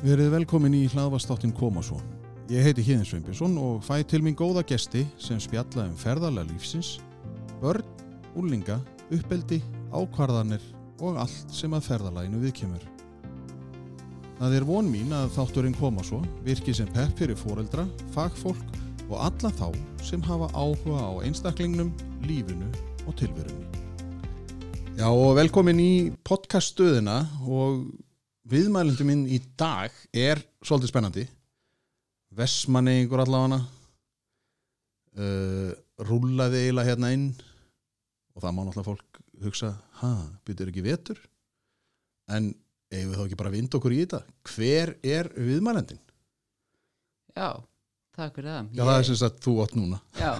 Verið velkomin í hlaðvastáttin Koma svo. Ég heiti Híðin Sveinbjörnsson og fæ til mín góða gesti sem spjalla um ferðalega lífsins, börn, úlinga, uppeldi, ákvarðanir og allt sem að ferðalaginu viðkemur. Það er von mín að þátturinn Koma svo virki sem pepp fyrir foreldra, fagfólk og alla þá sem hafa áhuga á einstaklingnum, lífinu og tilverunni. Já og velkomin í podcaststöðina og Viðmælindu minn í dag er svolítið spennandi Vestmanningur allavega uh, Rúllaði eiginlega hérna inn og það má náttúrulega fólk hugsa ha, byrjuðu ekki vetur en eigum við þá ekki bara að vinda okkur í þetta hver er viðmælendin? Já, takk fyrir það. Já, það er sem sagt þú átt núna Já,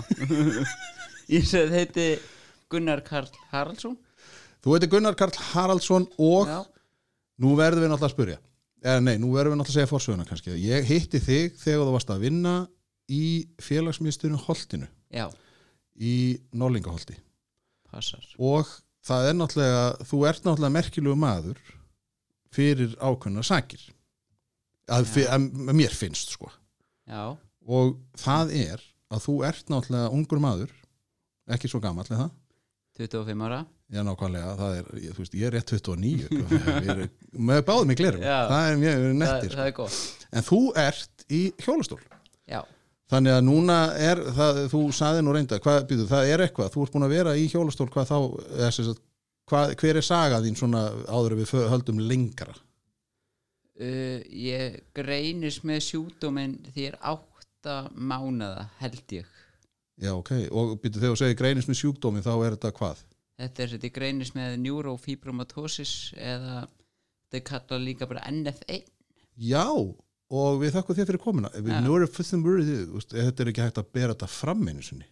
ég sem heiti Gunnar Karl Haraldsson. Þú heiti Gunnar Karl Haraldsson og Já, Nú verðum við náttúrulega að spurja eða nei, nú verðum við náttúrulega að segja forsöguna kannski ég hitti þig þegar þú varst að vinna í félagsmiðstunum Holtinu já, í Norlingaholti passar. og það er náttúrulega þú ert náttúrulega merkilegu maður fyrir ákveðna sakir að, Já. fyr, að mér finnst sko Já, og það er að þú ert náttúrulega ungur maður ekki svo gamall er það 25 ára. Já, nákvæmlega, það er, ég, þú veist, ég er rétt 29 við erum- með báðum í glerum Já. það er mjög við erum Það, nettir sko. það er gott. en þú ert í hjólastól Já, þannig að núna er, það, þú saði nú reynda hvað, býtu, það er eitthvað, þú ert búin að vera í hjólastól hvað þá, eða sem sagt, hvað, hver er saga þín svona áður en við fö- höldum lengra uh, ég greinist með sjúdóminn því ég er átta mánada held ég. já ok, og býtu þegar þú segir greinist með sjúkdómi þá er þetta hvað Þetta er þetta ég greinist með neurofibromatosis eða þetta er kallað líka bara E, NF1. já, og við þakkum þér fyrir komina við Já. nú erum um fyrstum vörðið þetta er ekki hægt að bera þetta fram einu sinni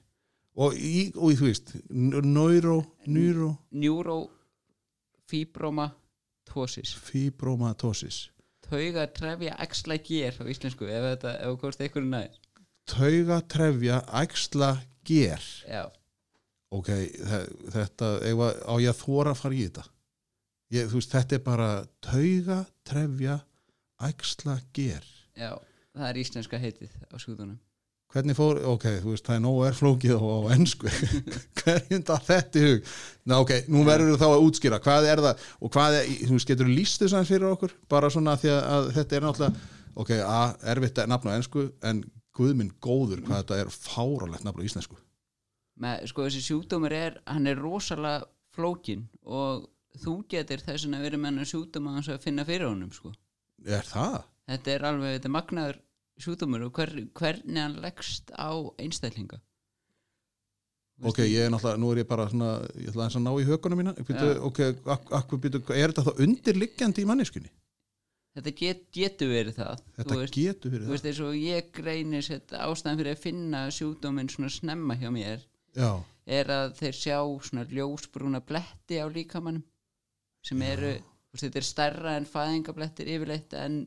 og, í, og í, þú veist neuro, neuro Neurofibromatosis. fibromatosis Tauga trefja axla gér á íslensku ef þetta, ef þú komst einhverju næð. tauga, trefja, æxla, ger Já. ok, þe- þetta eiga, á ég að þóra að fara í þetta ég, þú veist, þetta er bara tauga, trefja, æxla, ger Já, það er íslenska heitið á sjúðunum. hvernig fór, ok, þú veist, það er nógu er flókið á, á ennsku hverjum það þetta í hug Ná, ok, nú verður þá að útskýra, hvað er það og hvað er, þú veist, getur líst þess aðeins fyrir okkur bara svona því að, að þetta er náttúrulega ok, a, erfitt að nafna á ennsku en guðminn góður hvað þetta er fáralegt nafna á íslensku Með, sko, þessi sjúkdómur er, hann er rosalega flókin og þú getur þess vegna verið með hann sjúkdóma hans að finna fyrir honum, sko. er það? Þetta er alveg, þetta er magnaður sjúkdómur og hver, hvernig hann leggst á einstællinga. Ok, ég er náttúrulega, nú er ég bara svona, ég ætla aðeins að ná í hökunum mína. Býtu, Já. ok, ak- akkur býtu, er þetta þá undirliggjandi í manneskunni? Þetta get, getur verið það. Þetta þú veist, getur verið þú veist, eins og ég greinist þetta ástæðan fyrir að finna sjúkdóminn svona snemma hjá mér það. Já, er að þeir sjá svona ljósbrúna bletti á líkamannum sem eru, þú veist, þetta er stærra en fæðingablettir yfirleitt en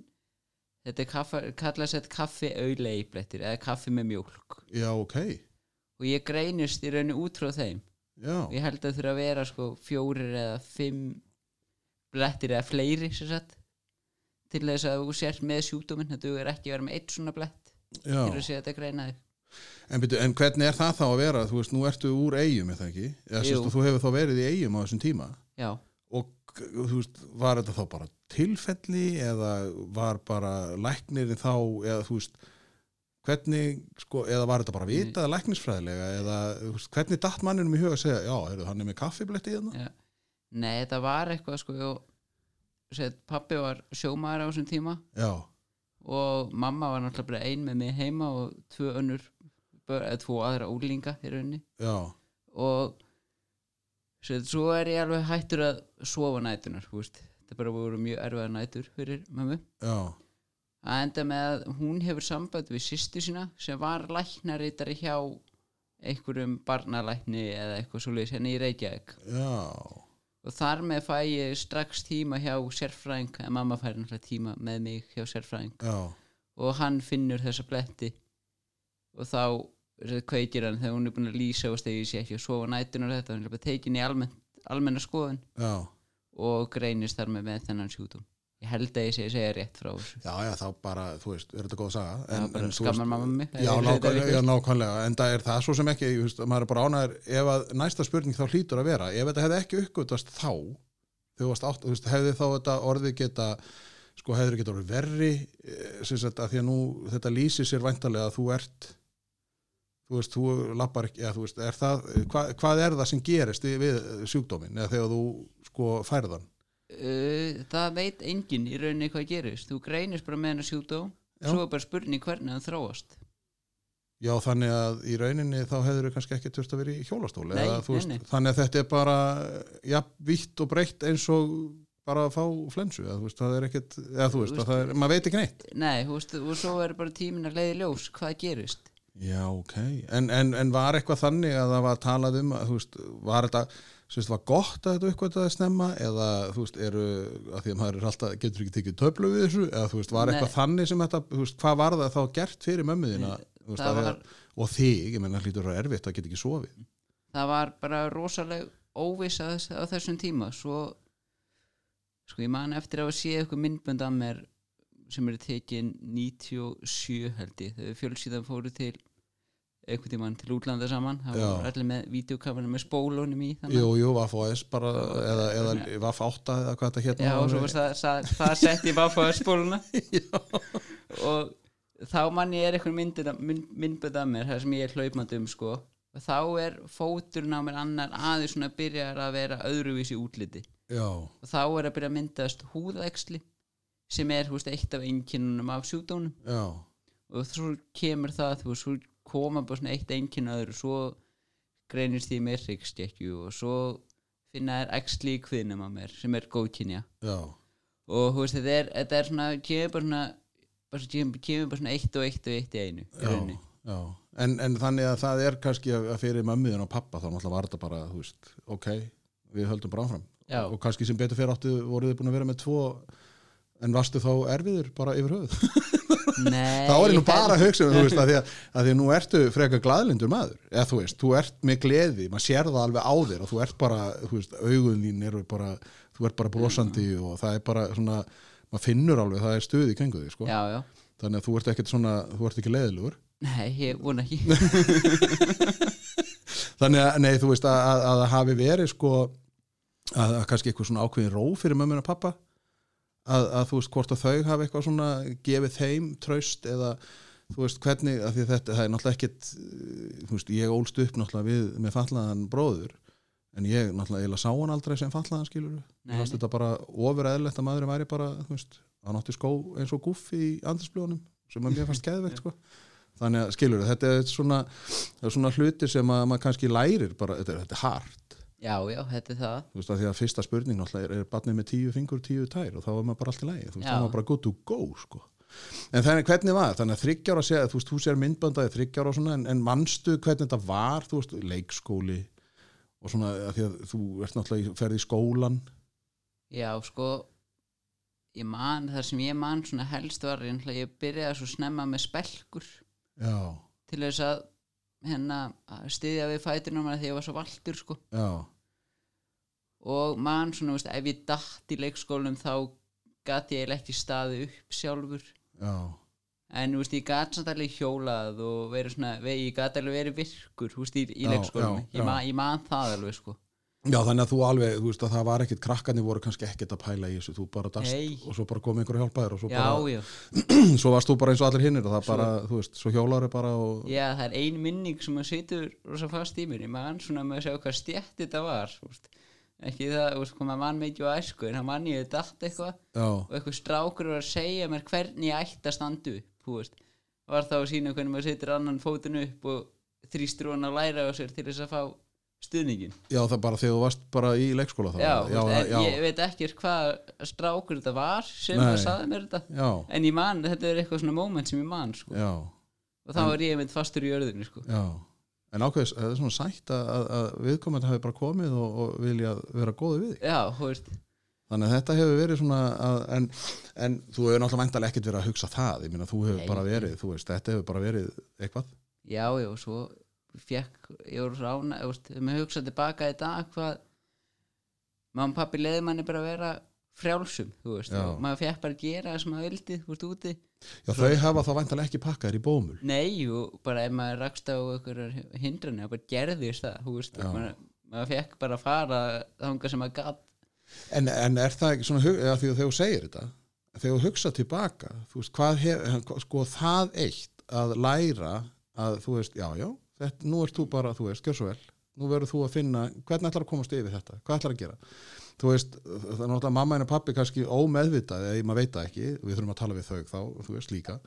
þetta er kaffa, kallast þetta kaffi auðlegi blettir eða kaffi með mjólk já, ok, og ég greinist í rauninu út frá þeim já, og ég held að þurfa að vera sko fjórir eða fimm blettir eða fleiri sem sagt til þess að þú sért með sjúkdóminn þetta dugur ekki að vera með eitt svona blett já. til þess að þetta greina þig En, býtu, en hvernig er það þá að vera? Þú veist, nú ertu úr eigum, er það ekki? Eða, Jú. sérst, þú hefur þá verið í eigum á þessum tíma já, og k- þú veist, var þetta þá bara tilfelli eða var bara læknirinn þá eða þú veist, hvernig sko, eða var þetta bara vitað Mm. læknisfræðilega eða þú veist, hvernig datt manninum í huga að segja já, heyrðu, hann er með kaffibletti hérna Já. nei þetta var eitthvað sko og sér, pappi var sjómaður á þessum tíma já, og mamma var náttúrulega bara ein með mig heima og tvö önnur bör- eða tvo aðra úlinga í rauninni já, og sér, svo er ég alveg hættur að sofa nætunar þú veist. þetta bara voru mjög erfiða nætur fyrir mömmu já, að enda með að hún hefur samband við sýstu sína sem var læknaritari hjá einhverjum barnalækni eða eitthvað svoleiðis henni í Reykjavík já og þar með fæ ég strax tíma hjá sérfræðing en mamma fær náttúrulega tíma með mig hjá sérfræðing já, og hann finnur þessa bletti og þá kveikir hann þegar hún er búin að lýsa og stegið sér ekki að sofa nætunar þetta, hann er bara tekin í almenn, almenna skoðun já og greinist þar með með þennan sjútum ég held að ég sé að segja rétt frá þessu Já, já, þá bara, þú veist, er þetta góð saga Já, bara þú skammar veist- mamma mig. Já, Eða þetta er nákvæmlega, eitthvað. já, nákvæmlega, en það er það svo sem ekki, ég veist, maður er bara ánæður ef að næsta spurning þá hlýtur að vera ef þetta hefði ekki uppgötast þá þau varst átt, þú veist, hefði þá þetta orðið geta sko, hefði geta orðið verri eh, sem sagt, að því að nú þetta lýsir sér væntalega að þú ert þú veist, þú lappar ekki, eða þú veist, er það eh, hva, hvað er það sem gerist við, við sjúkdómin, eða þegar þú sko færðan Uh, það veit enginn í rauninni hvað gerist þú greinist bara með hennar sjúkdóm Já. svo er bara spurning hvernig hann þróast Já, þannig að í rauninni þá hefur þau kannski ekki törst að vera í hjólastól Nei, eða, þú nei, veist, nei. þannig að þetta er bara ja, vitt og breytt eins og bara að fá flensu eða, þú veist, það er ekkit, eða, þú veist, Þú að það er, maður veit ekki neitt nei, þú veist, og svo er bara tíminn að leiði ljós hvað gerist Já, ok, en, en, en var eitthvað þannig að það var talað um að, þú veist, var þetta þú veist, var gott að þetta eitthvað að snemma eða þú veist, eru, að því að maður er alltaf getur ekki tekið töflu við þessu eða þú veist, var eitthvað Nei. þannig sem þetta, þú veist, hvað var það þá gert fyrir mömmuðina veist, það að því var, að- og þig, ég menna, hlýtur að vera erfitt að geta ekki sofið það var bara rosaleg óvissa á þess- á þessum tíma svo sko ég man eftir að hafa séð eitthvað myndbönd að mér sem eru tekin 97 held ég þegar fjölsýðan fóru til einhvern tímann til útlanda saman það Já. var allir með vídeokamerunum með spólunum í þannig að- Jú, jú, VFS bara eða, eða VF8 eða hvað þetta hérna Já, og svo varst það, það, það setti ég bara fóða spóluna og þá manni er eitthvað myndið að- mynd- myndbönd af mér það sem ég er hlaupandi um sko og þá er fóturinn á mér annar aðeins svona byrjar að vera öðruvísi útliti Já, og þá er að byrja að myndast húðæxli sem er þú veist, eitt af einkennunum af sjúkdónum já, og svo kemur það þú veist, svo koma bara svona eitt einkinn að öðru svo greinist því með ríkstjekju og svo finna þær æxli í kviðnum að mér sem er góðkynja já og þú veist þetta er, þetta er svona kemur bara svona bara, svona- kemur, kemur bara svona eitt og eitt og eitt í einu í Já, rauninni. já. En, en þannig að það er kannski að að fyrir mömmuðin og pappa þá náttúrulega var þetta bara, þú veist, ok við höldum bara áfram Já. og kannski sem betur fyrir áttu voruð þið búin að vera með tvo en varstu þá erfiður bara yfir höfuð Nei, þá er ég nú ég bara að held- hugsa um, þú veist, að því að, að því að nú ertu frekar glaðlindur maður, eða þú veist, þú ert með gleði, maður sér það alveg á þér og þú ert bara, þú veist, augun þín eru bara, þú ert bara brosandi Mm. og það er bara svona, maður finnur alveg það er stuð í kringu þig, sko, já, já, þannig að þú ert ekkert svona, þú ert ekki leiðilugur nei, ég vona ekki þannig að, nei, þú veist, að, að, að það hafi verið, sko að, að kannski eitthvað svona ákveðin ró fyrir mömmun og pappa að, að þú veist, hvort að þau hafi eitthvað svona gefið þeim tröst eða þú veist hvernig, af því að þetta það er náttúrulega ekkit, eh, þú veist, ég ólst upp náttúrulega við, með fallaðan bróður en ég náttúrulega eiginlega sá hann aldrei sem fallaðan skilur, Nei, fannst nei. þetta bara ofur eðlilegt að maðurinn væri bara, þú veist hann átti skó eins og gúff í andarsbljónum sem að mér fannst geðvegt, sko þannig að skilur, þetta er svona, það er svona hluti sem að maður kannski lærir bara, þetta er, þetta er hart já, já, þetta er það þú veist að því að fyrsta spurning náttúrulega er, er barnið með tíu fingur, tíu tær og þá er maður bara allt í lagi, þú veist, Já. þá er maður bara good to go sko. en þannig hvernig var, það? þannig að þryggjára segja, þú veist, þú sér myndbandaði þryggjára og svona, en, en manstu hvernig þetta var þú veist, leikskóli og svona, að því að þú ert náttúrulega í- ferð í skólan, já, sko ég man, þar sem ég man svona helst var ég, ég byrjaði svo snemma með spelkur já, til þess að hérna, að styðja við fætunum að því ég var svo valdur, sko já og man svona, veist, ef ég datt í leikskólanum þá gat ég eiginlega ekki staði upp sjálfur já, en þú veist, ég gat samt alveg hjólað og verið svona, ve- ég gat alveg verið virkur þú veist, í, í Já, leikskólum, já, já. ég, man, ég man það alveg sko, já, þannig að þú alveg, þú veist að það var ekkit, krakkarnir voru kannski ekkit að pæla í þessu, þú bara dast Nei. og svo bara kom einhver að hjálpa þér og svo já, bara, já svo varst þú bara eins og allir hinnir og það bara, þú veist, svo hjólar bara og, já, það er ein minning sem að situr rosa fast í mér, ég man svona með að sjá hvað stjætt þetta var, þú veist ekki það, þú veist, hvað maður mann mikið á æsku en það mann ég hafði datt eitthvað já, og eitthvað strákur var að segja mér hvernig ég ætti að standa upp, þú veist var þá að sína hvernig maður setur annan fótinn upp og þrýstur hann að læra á sér til þess að fá stuðningin Já, það bara þegar þú varst bara í leikskóla þá já, já, já, veist, já, en ég veit ekki hvað strákur þetta var sem Nei. að saði mér þetta já, en ég man, þetta er eitthvað svona moment sem ég man sko. já, og þá var ég mynd fastur í örðinu sko. já En ákveðis, það er svona sætt að, að- að viðkomandi hafi bara komið og, og vilja vera góði við þig já, þú veist, Þannig að þetta hefur verið svona að, en, en þú hefur náttúrulega væntalega ekkert verið að hugsa það Ég meina, þú hefur Nei. bara verið, þú veist, þetta hefur bara verið eitthvað já, já, og svo fekk, ég voru rána ég veist, með hugsa tilbaka í dag hvað mamma og pappi leiði manni bara að vera frjálsum, þú veist, Já. og maður fekk bara að gera það sem maður vildi, þú veist, úti Já, þau hafa það væntanlega ekki pakkaðir í bómul. Nei, og bara ef maður rakst á einhverjar hindranir, þá bara gerðist það, þú veist, Já. maður, maður fekk bara að fara þangað sem maður gatt En, en er það ekki svona, hug- eða því að þegar þú segir þetta, þegar þú hugsa tilbaka, þú veist, hvað hef, sko það eitt að læra að þú veist, já, já, þetta, nú ert þú bara, þú veist, gjör svo vel, nú verður þú að finna, hvernig ætlar að komast yfir þetta, hvað ætlar að gera? Þú veist, það er náttúrulega mamma henni og pappi kannski ómeðvitað, eða ég maður veit það ekki, við þurfum að tala við þau þá, þú veist, líka,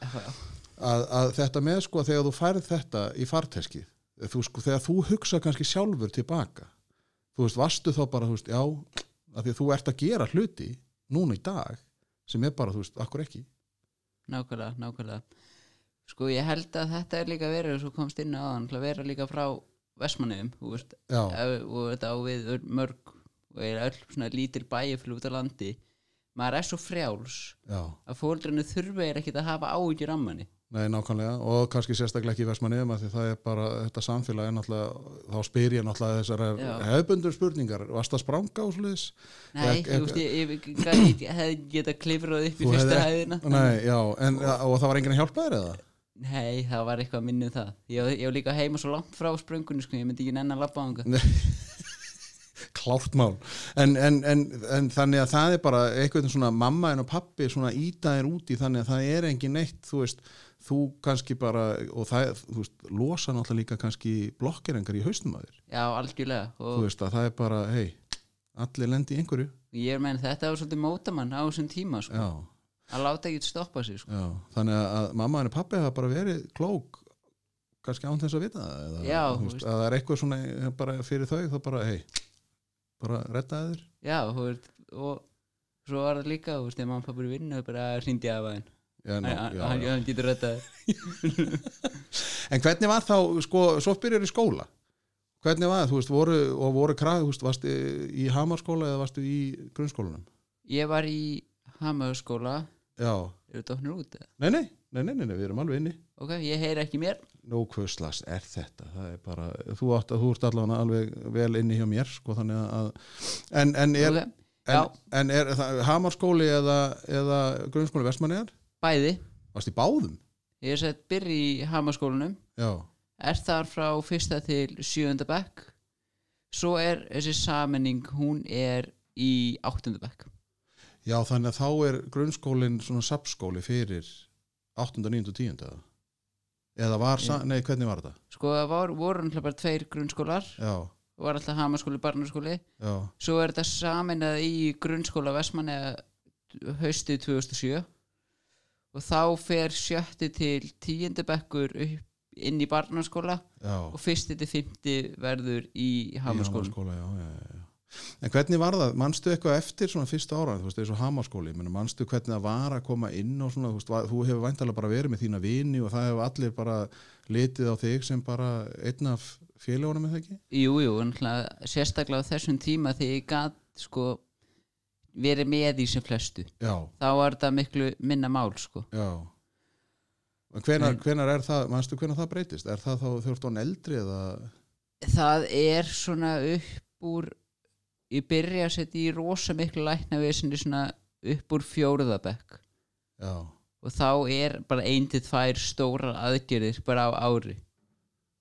að, að þetta með sko þegar þú færð þetta í farteski þú, sko, þegar þú hugsa kannski sjálfur tilbaka þú veist, vastu þá bara þú veist, já, að því að þú ert að gera hluti núna í dag sem er bara, þú veist, akkur ekki nákvæmlega, nákvæmlega sko ég held að þetta er líka verið svo komst inn á þann, að vera líka frá Vestmanniðum, þú veist já, ef- og þetta á við öll- mörg og er öll svona lítil bæi fyrir út á landi maður er svo frjáls já, að fóldrinu þurfa er ekkit að hafa áhyggjur af manni nei, nákvæmlega og kannski sérstaklega ekki í versmanniðum að því það er bara, þetta samfélag er náttúrulega þá spyr ég náttúrulega Já. þessar hefbundur spurningar, varst að spranga og svoleiðis nei, Ek- þú veist, ég, ég, ég, ég, ég hefði geta klifrað upp í Þú fyrsta hefðir ekki- hæðina nei, já, en, og það var enginn að hjálpa þér eða? nei, það var eitthvað að minna um það ég, ég var líka heima svo langt frá spröngunni sko, ég myndi ekki nenn að labba á hanga klárt mál en, en, en, en þannig að það er bara eitthvað svona mamma en og pappi svona íta þér úti þannig að það er engin neitt þú veist, þú kannski bara og það, þú veist, losa náttúrulega líka kannski blokkirengar í haustum að þér já, algjörlega og þú veist að það er bara, hei allir lendi í einhverju ég menn þetta var svolítið mótamann á þessum tíma sko. já, að láta ekki stoppa sig sko. já. þannig að mamma en og pappi hafa bara verið klók kannski án þess að vita það eða, Já, þú þú veist, veist. að það er eitthvað svona eh, bara fyrir þau þá bara, hei, bara reddaði þér já, þú veist og svo var það líka, þú veist, ef mann pappur vinnu bara "Ah, hrindi af hann já, ná, hann hann- hann getur þetta En hvernig var þá, sko, svo byrjar í skóla Hvernig var það, þú veist, voru og voru krað, þú veist, varstu í hamarskóla eða varstu í grunnskólanum? ég var í hamaðurskóla Já, eru þetta opnir út? eða? nei, nei, nei, nei, nei, nei við erum alveg inni ok, ég heyri ekki mér Nó, hvað slags er þetta? Það er bara, þú, átt, að- þú ert allavega alveg vel inni hjá mér, sko, þannig að En, en er, okay. já. en, en er það, hamarskóli eða, eða grunnskóli vestmanniðar? bæði, Varstu í báðum? ég er sett byrj í hamaðurskólanum Já, er þar frá fyrsta til sjöunda bekk svo er þessi sammenning hún er í áttunda bekk já, þannig að þá er grunnskólinn svona sapskóli fyrir 8. 9. 10. eða? Eða var, sa, nei, hvernig var þetta? sko það var, voru náttúrulega bara tveir grunnskólar Já, var alltaf hamaskóli, barnaskóli já, svo er þetta saminað í grunnskóla Vestmanni haustið 2007 og þá fer sjötti til tíundi bekkur upp inn í barnaskóla já. og fyrsti til fymti verður í Í hamaskóla Hamaskóla, já, já, já, já. En hvernig var það? Manstu eitthvað eftir svona fyrsta ára, þú veist, eins og hamaskóli, menn, manstu hvernig það var að koma inn og svona, þú veist, var, þú hefur væntalega bara verið með þína vini og það hefur allir bara litið á þig sem bara einn af félagunum með það ekki? Jú, jú, náttúrulega, sérstaklega á þessum tíma því ég gat sko verið með í sem flestu Já, þá var þetta miklu minna mál sko já. En hvenar, hvenar er það, manstu hvenar það breytist? Er það þá þurft án eldri eða, það er svona upp úr ég byrja að setja í rosa miklu lækna svona upp úr fjóruðabekk já, og þá er bara ein til tvær stórar aðgerðir bara á ári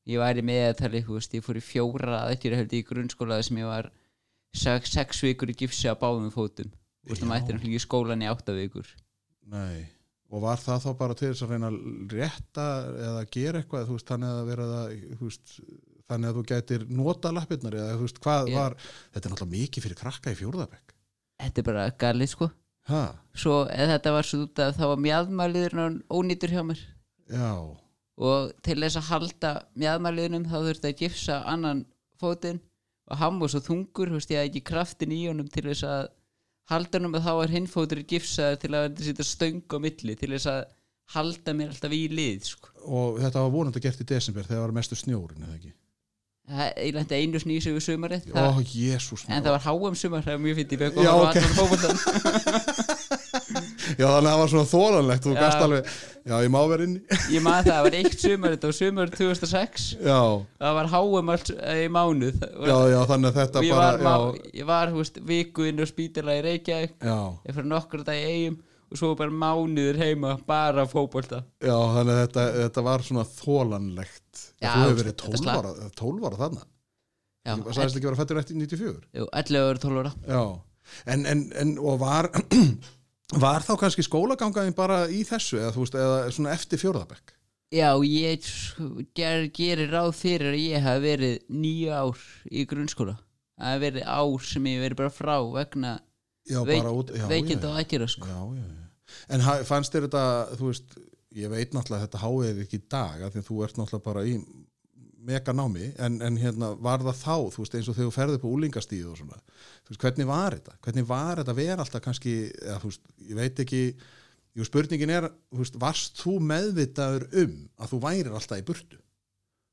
ég væri með að tala ykkur veist, ég fór í fjóra aðgerðir held ég í grunnskóla þar sem ég var sex, sex vikur í gifsi á báðum fótum Þú um veist, Já. það mætti náttúrulega í skólan í átta vikur nei. Og var það þá bara til þess að reyna að rétta eða gera eitthvað, þú veist, þannig að vera það, þú veist, þannig að þú gætir nota lappirnar eða þú veist, hvað Já. var, þetta er náttúrulega mikið fyrir krakka í fjórðabekk. þetta er bara galið sko Ha, svo eða þetta var svo út að þá var mjadmæliðurinn ónýtur hjá mér já, og til þess að halda mjadmæliðunum þá þurfti að gifsa annan fótinn og hann var svo þungur þú veist, ég hafði ekki kraftin í honum til þess að halda honum og þá var hinn fótur gifsaður til að setja stöng á milli til þess að halda mér alltaf í lið sko. og þetta var vonandi gert í desember þegar var mestu snjórin, eða ekki? Það- ég lendi einu sinni í sig við sumarið Ó, það, jésús. en það var háum sumar það var mjög fint í bök og Já, horfa á ok. allan fótboltann. Já, þannig að það var svona þólanlegt, þú Já. gast alveg, já, ég má vera inni. ég maður það, það var eitt sumar þetta var sumar 2006 Já, það var háum alls eh, í mánuð og já, já, þannig að þetta og ég var, bara, má, ég var þú veist, viku inn á spítala í Reykjavík já, já, ég fyrir nokkra dag í eigum og svo bara mánuður heima bara fótbolta já, þannig að þetta, þetta var svona þólanlegt. Já, þú hefur verið þetta- þetta 12 slapp. ára, 12 ára þarna. já, Ég sagðist ekki vera fættur eftir 94. jú, 11 ára 12 ára Já, en, en, en, og var, var þá kannski skólagangaðin bara í þessu, eða þú veist, eða svona eftir fjórðabekk? já, ég ger, gerir ráð fyrir að ég hafi verið nýju ár í grunnskóla það hafi verið ár sem ég hef verið bara frá vegna Já, veik, bara út, já, já, veikinda og aðgjöra sko. já, já, já. En ha- fannst þér þetta, þú veist, ég veit náttúrulega að þetta háið ekki í dag, af því að þú ert náttúrulega bara í meganámi, en, en hérna, var það þá, þú veist, eins og þegar þú ferði upp á úlingastíð og svona, þú veist, hvernig var þetta? Hvernig var þetta að vera alltaf kannski, eða, þú veist, ég veit ekki, jú, spurningin er, þú veist, varst þú meðvitaður um að þú værir alltaf í burtu?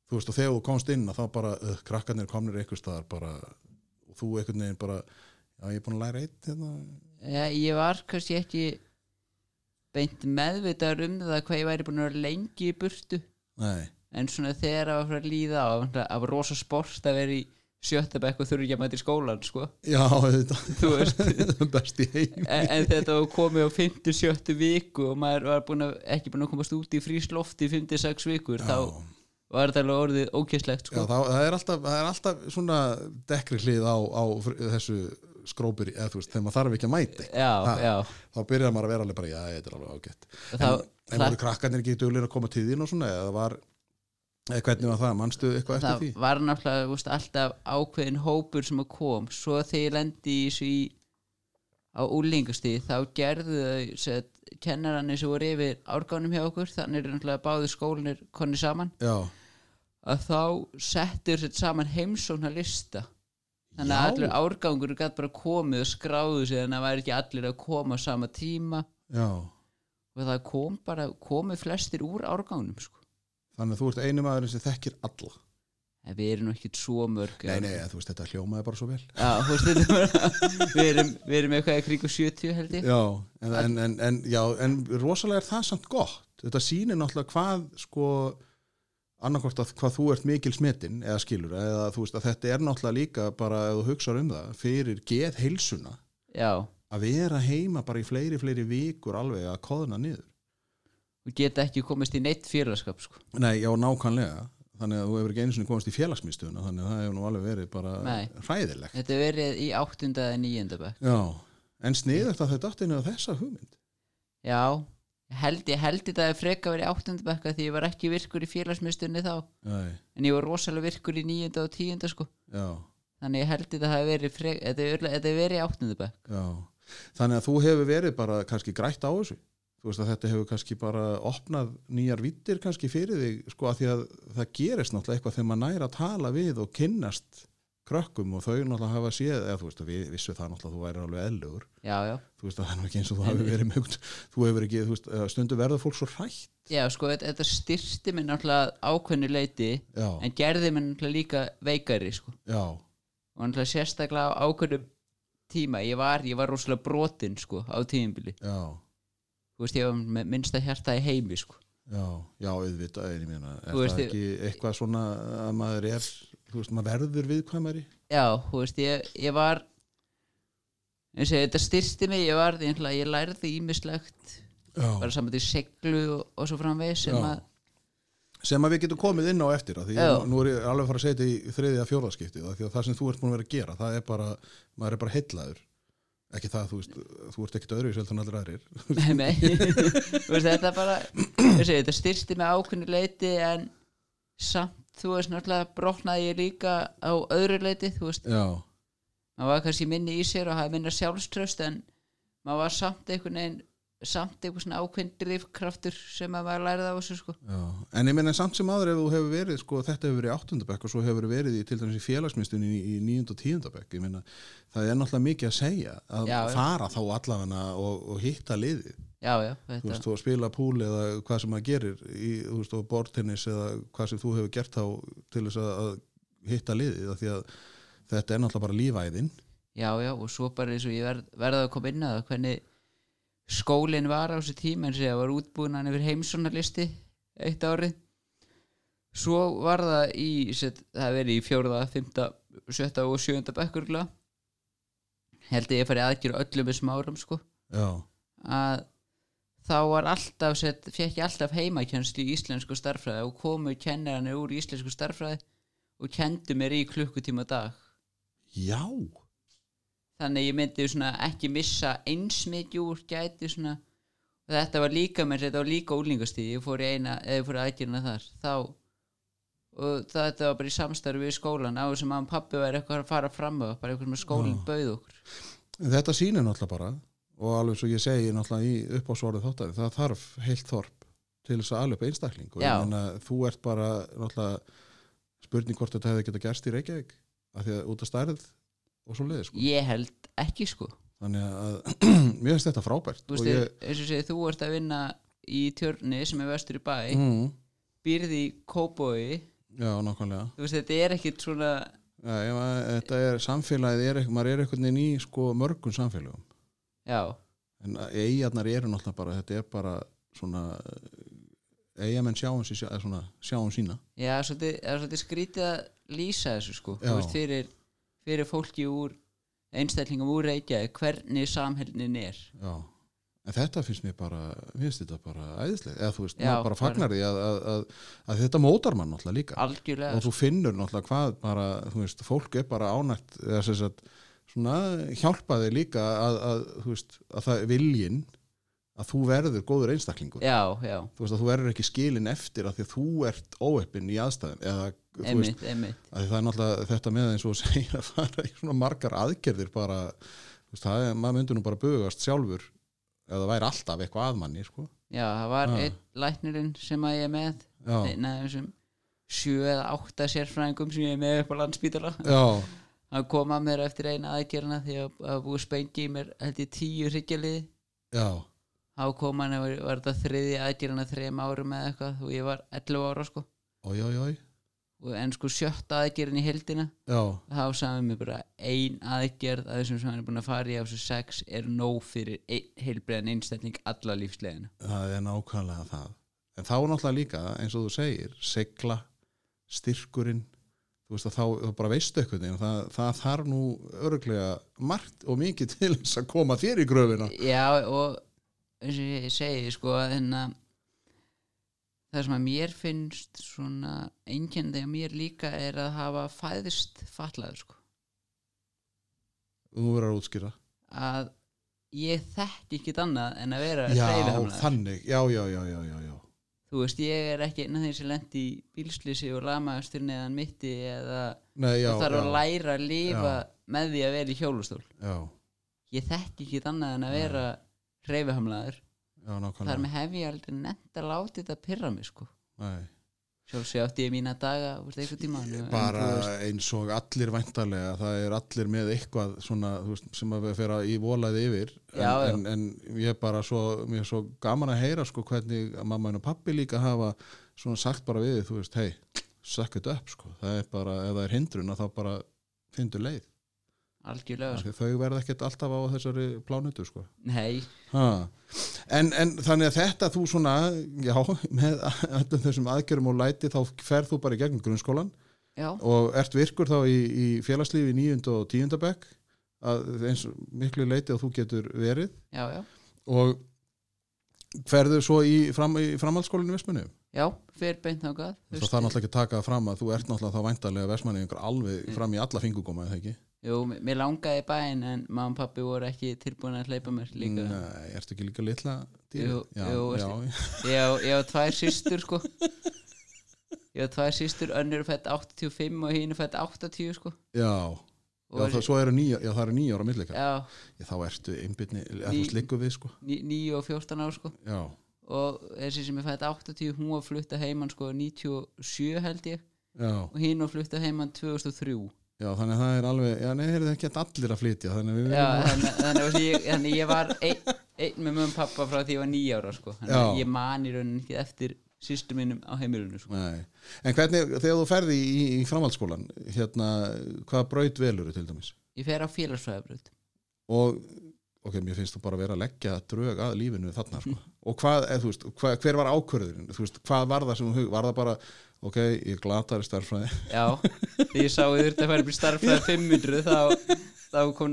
Þú veist, og þegar þú komst inn að þá bara, uh, krakkarnir komnir einhvers staðar bara, og þú einhvern veginn bara, já, ég er búin að læra eitt, hérna, Já, ég var kannski ekki beint meðvitaður um það hvað ég væri búin að vera lengi í burtu nei. en svona þegar að var fyrir að líða á að var rosa sport að vera í sjötta bekk og þurfa ekki að mæta í skólan sko. Já, þetta Þú veist. Best í heim en, en þetta var komið á 5-7 viku og maður var búin að, ekki búin að komast út í frísloft í 5-6 vikur þá var þetta alveg orðið ókesslegt Já, sko. þá, það, er alltaf, það er alltaf svona dekkri hlið á, á fr- þessu skrópir, eða þú veist, þegar maður þarf ekki að mæti já, Ha. já, þá byrjar maður að vera alveg bara, já, þetta er alveg ágætt Og þá- En, en voru krakkarnir ekki duglir að koma til þín og svona, eða var eða hvernig var það, manstu eitthvað eftir það því? var náttúrulega þú veist, alltaf ákveðin hópur sem að kom svo þegar ég lendi í þessu í á úlingastíð þá gerðu þau set, kennarannir sem voru yfir árgánum hjá okkur þannig er náttúrulega báði skólinir konni saman Já, að þá settur sér saman heimsóknar lista þannig að Já. allur árgangur gætt bara komið og skráðu sig þannig að það væri ekki allir að koma á sama tíma já og það kom bara, komið flestir úr árgangunum sko. Þannig að þú ert einu maðurinn sem þekkir alla en við erum nú ekkit svo mörg Nei, nei, eða þú veist, þetta hljómaði bara svo vel Já, þú veist, þetta er bara- við, erum, við erum eitthvað í kringu 70 held ég Já, en, en, en, en, já, en rosalega er það samt gott. Þetta sýnir náttúrulega hvað, sko, annarkort að hvað þú ert mikil smitinn eða skilur, eða þú veist að þetta er náttúrulega líka bara, ef þú hugsar um það, fyrir geð heilsuna, Já, að vera heima bara í fleiri, fleiri vikur alveg að koðna niður. og geta ekki komist í neitt félagskap sko. Nei, já, nákvæmlega. Þannig að þú hefur ekki einu sinni komast í félagsmyndstöðuna, þannig að það hefur nú alveg verið bara Nei. hræðilegt. Þetta er verið í 8. eða 9. bekk Já, en sniðast að þau datt inn á þessa hugmynd. Já, ég held, ég held þetta að freka verið í 8. bekk af því ég var ekki virkur í félagsmyndstunni þá Nei, en ég var rosalega virkur í 9. og 10. sko já. þannig ég held þetta að verið freka, þetta er örugglega- þetta er verið í 8. bekk Já, þannig að þú hefur verið bara kannski grætt á þessu þú veist að þetta hefur kannski bara opnað nýjar vittir kannski fyrir þig sko að því að það gerist náttúrulega eitthvað þegar maður næra að tala við og kynnast krökkum og þau náttúrulega hafa séð eða þú veist að við vissu það náttúrulega að þú væri alveg eðlugur Já, já, þú veist að það er nú ekki eins og þú hafi verið mjög þú hefur ekki, þú veist, eh, stundum verður fólk svo hrætt já sko, þetta, þetta styrti mér náttúrulega ákveðnu leiti já, en gerði mér náttúrulega líka veikari sko já, og hann sérstaklega á ákveðnum tíma, ég var, ég var rosalega brotinn sko, á tíðinbili, já þú veist, ég var með minnsta hjarta í heimi, sko, Já, já, auðvitað, en ég meina, er Þú veist, það ég- ekki eitthvað svona að maður er, þú veist, maður verður viðkvæmari? já, þú veist ég, ég var eins og þetta styrsti mig, ég var ég, ég lærði ímislegt, Já. bara saman til seglu og, og svo framvegis sem Já. að, sem að við getum komið inn á eftir að því Já. nú- nú er ég alveg að fara að segja þetta í þriðja fjórðaskipti að því að það sem þú ert búin að vera að gera það er bara, maður er bara heillaður ekki það, þú veist, þú ert ekkit öðru í seltan allir aðrir nei, nei þú veist, þetta bara, eins og þetta styrsti mig á ákveðnu leiti en samt, þú veist, náttúrulega brotnaði ég líka á öðru leiti, þú veist já, maður var kannski minni í sér og hafði minna sjálfströst en maður var samt einhvern veginn samt einhvern svona ákveðin drifkraftur sem að maður lærið á þessu sko já, en ég meina samt sem aður ef þú hefur verið, sko, þetta hefur verið í áttundabekk og svo hefur verið í, til dæmis í félagsmyndstun í, í níund og tíundabekk, ég meina það er náttúrulega mikið að segja að Já, já. fara þá allavega og, og hitta liðið já, já, þú þetta, veist, þú að spila púl eða hvað sem maður gerir í, þú veist, og bortennis eða hvað sem þú hefur gert þá til þess að, að hitta liðið, af því að þetta er náttúrulega bara lífæðin já, já og svo bara eins og ég verð, verða að koma inn að það hvernig skólinn var á þessu tíma en það var útbúinan yfir heimsonarlisti eitt árið svo var það í set, það verið í fjórða, fymta, sjötta og sjönda bekkurla held ég að ég farið aðgjöru öllum þessum áram sko já, að þá var alltaf set, fekk ég alltaf heimakennslu í íslensku starffræði og komu kennararnir úr íslensku starffræði og kendu mér í klukkutíma á dag já, þannig að ég myndi svona ekki missa eins mikið úr gæti svona og þetta var líka með þetta var líka úlingastíð ég fór í eina, eða ég fór í aðgerina þar þá og það, þetta var bara í samstarfi við skólan á þessum að pappi væri eitthvað að fara fram á bara eitthvað sem skólinn bauð okkur en þetta sýnir náttúrulega bara og alveg svo ég segi náttúrulega í uppásvarðu þáttari, það þarf heilt þorp til þess að alveg einstakling og Já. ég meina þú ert bara náttúrulega spurning hvort þetta hefði geta gerst í Reykjavík af því að út af stærð og svo leiði sko ég held ekki sko þannig að mér finnst þetta frábært þú og veist, ég, eins og segið þú ert að vinna í tjörni sem er vestur í bæ mm. mm, býrði í kóbói já, nákvæmlega þú veist þetta er ekkit svona Já, ég, maður, þetta er samfélagið, er, ekk- maður er einhvern veginn í sko mörgum samfélagum já, en eigarnar eru náttúrulega bara, þetta er bara svona eh, eigamenn sjáum, sí, svona, sjáum sína Já, svolítið, það er svolítið skrítið að lýsa þessu sko Já. Þú veist, fyrir, fyrir fólki úr einstællingum úr Reykjavík hvernig samhælnin er Já. en þetta finnst mér bara mér finnst þetta bara æðislega eða þú veist, Já, maður bara bara- fagnar því að, að, að, að þetta mótar mann náttúrulega líka algjörlega og þú finnur náttúrulega hvað bara, þú veist, fólk er bara ánægt eða sem sagt, svona hjálpaði líka að, að, þú veist, að það viljin að þú verður góður einstaklingur Já, já, þú veist að þú verður ekki skilin eftir að því að þú ert óeppin í aðstæðum eða þú veist einmitt, einmitt að það er náttúrulega þetta með eins og þú segir að fara í svona margar aðgerðir bara þú veist það er, maður myndur nú bara bugast sjálfur ef það væri alltaf eitthvað að manni sko Já, það var Já. einn læknirinn sem að ég er með já, einn af þessum sjö eða átta sérfræðingum sem ég er með upp á landspítala já, hann kom að mér eftir eina aðgerna því að að búið spengi í mér held ég tíu hryggjaliði já, þá kom hann að var, var þetta þriði aðgerna þrem árum eða eitthvað og ég var 11 ára sko oj, oj, oj Og- en sko sjötta aðgerðin í heldina já, þá sagði mér bara ein aðgerð að þessum sem hann er búin að fara í á þessu sex er nóg fyrir ein, heilbreiðan einstætning alla lífslegina það er nákvæmlega það en þá er náttúrulega líka eins og þú segir segla, styrkurinn þú veist að þá, þá bara veistu eitthvað það, það þarf nú örglega margt og mikið til þess að koma þér í gröfina já og eins og ég segi sko að hérna það sem að mér finnst svona einkennandi að mér líka er að hafa fæðist fatlaður sko þú verður að útskýra að ég þekki ekkit annað en að vera já, hreyfihamlaður. þannig, já, já, já, já, já, já. þú veist ég er ekki einn af þeir sem lendi í bílslýsi og lamaðast fyrir neðan mitti eða Nei, já, það já, þarf að læra að lifa með því að vera í hjólustól já, ég þekki ekki annað en að vera reyfihamlaður, já, nákvæmlega þar með hef ég aldrei nefnt að láti þetta pyrra mig sko Nei, sjálfsög átti ég mína daga þú veist, einhvern tímann, en bara þú veist, eins og allir væntalega, það er allir með eitthvað svona, þú veist, sem að vera í volaði yfir, en, Já, já. En, en ég er bara svo, mér er svo gaman að heyra sko hvernig að mamma henn og pappi líka hafa svona sagt bara við, þig, þú veist, hei suck it up, sko, það er bara ef það er hindrun að þá bara fyndu leið algjörlega Af sko. því þau verða ekkert alltaf á þessari plánutu, sko nei, Ha. En, en þannig að þetta þú svona, já, með öllum þessum aðgjörum og læti þá ferð þú bara í gegnum grunnskólan já, og ert virkur þá í, í félagslífi í níund og tíundabæk að eins og miklu leiti að þú getur verið já, já og ferðu svo í, fram, í framhaldsskólinu Vestmanni já, fyrir beint þangað þú það veist, er náttúrulega ekki að taka það fram að þú ert náttúrulega þá væntanlega Vestmanni yngur Mm. alveg fram í alla fingugóma eða ekki jú, m- mér langaði í bæinn en mamma og pappi voru ekki tilbúin að hleypa mér líka Nei, ertu ekki líka litla dýrið? Jú, já, jú, já, ég á, ég á tvær sýstur sko ég á tvær sýstur önnur er fætt 85 og hinn er fætt 80 sko já, og já, það, svo eru nýja, já, það eru nýja ára millikar já, Já, þá ertu einbyrni, eða þú Ný- slikku við sko ní- 9 og 14 ára sko já, og þessi sem er fætt 80 hún var flutta heimann sko 97 held ég já, og hinn var flutta heimann 2003 já, þannig að það er alveg já, nei, það er ekki allir að flytja þannig að við já, verðum- þannig, þannig, að ég, þannig að ég var einn ein með mögum pappa frá því ég var 9 ára sko þannig Já. að ég man í rauninni ekki eftir sýstur mínum á heimilinu sko Nei. en hvernig, þegar þú ferði í, í, í framhaldsskólan hérna, hvað braut velur til dæmis ég fer á félagsfræðabröð og ok, mér finnst þú bara vera að leggja drög að lífinu þarna sko. og hvað, eð, þú veist, hvað, hver var ákvörðurinn þú veist, hvað var það sem þú hug, var það bara ok, ég glatar í starffræði Já, því ég sá ég þurfti að fara upp í starffræði 500 þá, þá kom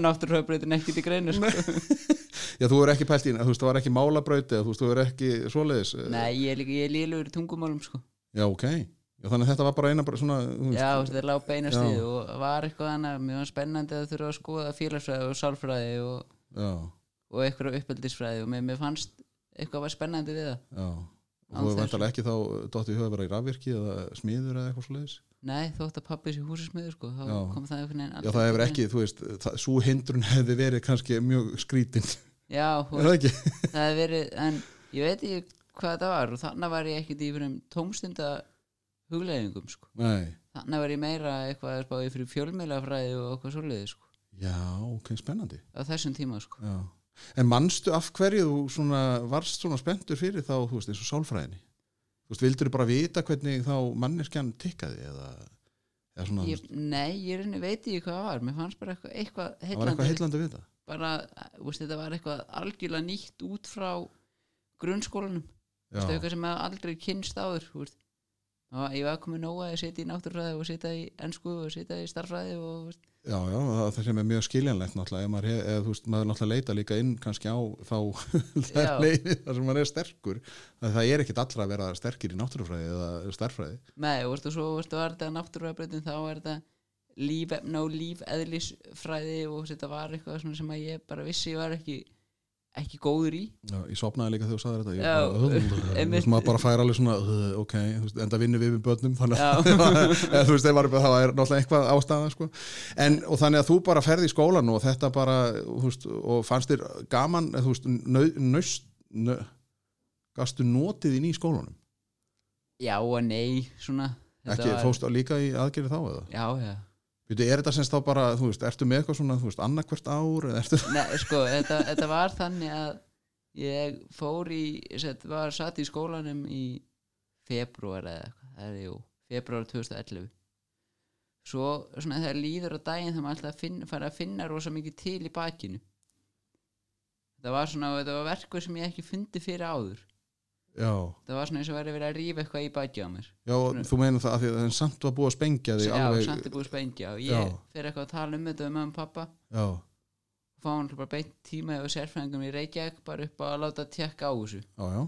náttúrfræðbreytin ekki til greinu sko. já, þú er ekki pælt í, henni, þú veist, það var ekki málabrauti eða, þú veist, þú er ekki svoleiðis eh, Nei, ég er líka, ég er lílugur í tungumálum sko. já, ok, já, þannig að þetta var bara eina bara svona, þú veist, Já, þú veist, þetta er lág beinast Sko. Já. í og var eitthvað annað, mjög spennandi að þurfa að skoða félagsfræði og sálfræði og, já, já, og eitthvað uppeldisfræði og mér, mér fannst eitthvað var spennandi við það og þú Án þess. er vantarlega ekki þá eh, dottið í höfu að vera í rafvirki eða smiður eða eitthvað svoleiðis Nei, þótt að pappi sé húsismiður sko, þá Já. kom það einhvern veginn já, aldrei það hefur til. ekki, þú veist, svo hindrun hefði verið kannski mjög skrítin Já, og er það ekki? það hefur verið, en ég veit ekki hvað þetta var og þannig var ég ekkert í fyrir tómstunda hugleðingum sko. nei, þannig var ég meira eitthvað að spáði fyrir fjölmiðlafræði og eitthvað svoleiði sko, já, ok, spennandi á þessum tíma sko. Já. En manstu af hverju þú svona, varst svona spenntur fyrir þá, þú veist, eins og sálfræðinni? Þú veist, vildur þú bara vita hvernig þá manneskjan tikkaði eða, eða svona, ég, nei, ég reyni, veit ekki hvað það var mér fannst bara eitthvað, eitthvað það var heillandi eitthvað heillandi við það? bara, þú veist, þetta var eitthvað algjörlega nýtt út frá grunnskólanum, Já, þetta er eitthvað sem maður aldrei kynst áður þú veist. og ég var komið nóga að setja í náttúrfræði og setja í ensku og setja í starfræði og þú veist, já, já, það það sem er mjög skiljanlegt náttúrulega, ef maður, hef, eða, þú veist, maður náttúrulega leita líka inn kannski á þá Já. þær leiði þar sem maður er sterkur, að það er ekkit allra að vera sterkir í náttúrufræði eða starfræði. Nei, og veistu, svo veistu, var þetta náttúrulega þá var þetta lífefna og lífeðlisfræði og þetta var eitthvað svona sem að ég bara vissi ég var ekki, ekki góður í Já, ég sopnaði líka þegar þú sagði þetta, ég Já, bara, þú einmitt. veist, maður bara fær alveg svona, uh, ok, þú veist, enda vinnum við með börnum, þannig að Já. eða þú veist, það var- það er náttúrulega eitthvað ástæða, sko, en, og þannig að þú bara ferði í skólan og þetta bara, þú veist, og fannst þér gaman, eða þú veist, nau, naust, nö, gastu notið inn í skólanum, Já og nei, svona þetta ekki, fóstu líka í aðgerið þá eða? Já, já Veitu, er þetta semst þá bara, þú veist, ertu með eitthvað svona, þú veist, annarkvert ár, eða ertu, Nei, sko, þetta, þetta var þannig að ég fór í set, var satt í skólanum í februar eða eitthvað, það er jú februar 2011 svo svona þegar líður á daginn þá maður alltaf að finna, fara að finna rosa mikið til í bakinu þetta var svona, þetta var verkur sem ég ekki fundi fyrir áður já, það var svona eins og verið verið að rífa eitthvað í baki á mér já, og þú meina það, af því að en samt var búið að spengja því já, alveg, samt er búið spengja og Já. ég fer eitthvað að tala um þetta við mamma og pappa já, fá hann bara beint tíma og sérfræðingum í Reykjavík bara upp á að láta tjekka á þessu já, já.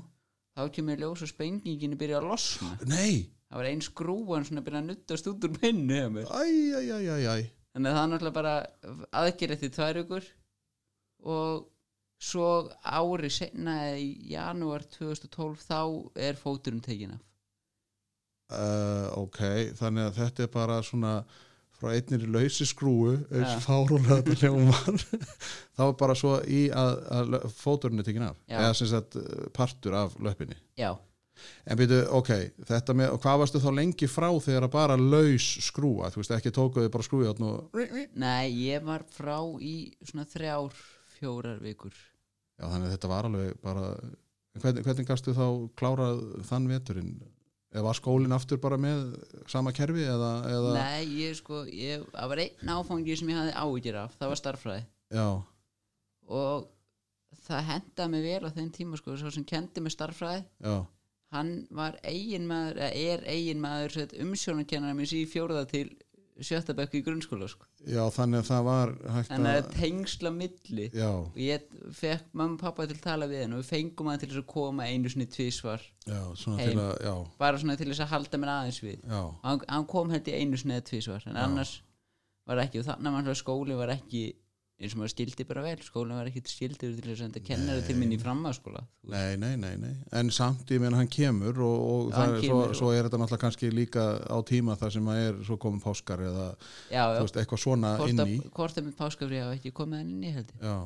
þá kemur í ljós og spengingin er byrjað að losna Nei, það var einn skrúan svona að byrja að nuttast út úr pinnu hjá mér. æj, æj, æj, æj, æj þannig að það er náttúrulega bara aðgerið til tvær ykkur og svo ári senna eða í janúar 2012 þá er fóturinn tekin af uh, Ok, þannig að þetta er bara svona frá einnir lausi skrúu eins Já. fárólega þetta hljóma var þá er bara svo í að, að lö- fóturinn er tekin af Já. eða sem sagt uh, partur af löppinni já, En byrju, ok, þetta með, og hvað varstu þá lengi frá þegar að bara laus skrúa, þú veist, ekki tókuðu bara skrúið þarna og, já, nei, ég var frá í svona þrjár, fjórar vikur þannig að þetta var alveg bara, En hvernig, hvernig gastu þá klárað þann veturinn? Eða var skólinn aftur bara með sama kerfi eða, eða nei, ég sko, ég, það var einn áfangi sem ég hafði áhyggjur af, það var starffræði já, og það hendaði mig vel á þeim tíma sko, svo sem kendi mig starffræði já, hann var eiginmaður eða er eiginmaður umsjónakennara minns í fjórða til sjötta bekku í grunnskóla sko. Já, þannig að það var hægt þannig að að tengsla milli Já, og ég fekk mamma og pappa til að tala við hann og við fengum hann til þess að koma einu sinni tvísvar já, svona Heim. til að Já, bara svona til þess að halda mér aðeins við já, hann, hann kom held í einu sinni eða tvísvar en Já. annars var ekki og þannig að skóli var ekki eins og maður skildi bara vel skólinn var ekki skildi til þess að senda kennara til minn í framhaldsskóla þú veist. nei, nei, nei, nei En samt, ég meina, hann kemur og, og Já, það, hann er- kemur svo, svo er þetta náttúrulega kannski líka á tíma þar sem að er svo komin páskar eða, já, já, þú veist, eitthvað svona hvort inn að- í hvort að mitt páskafri hafa ekki komið hann inn í heldur Já,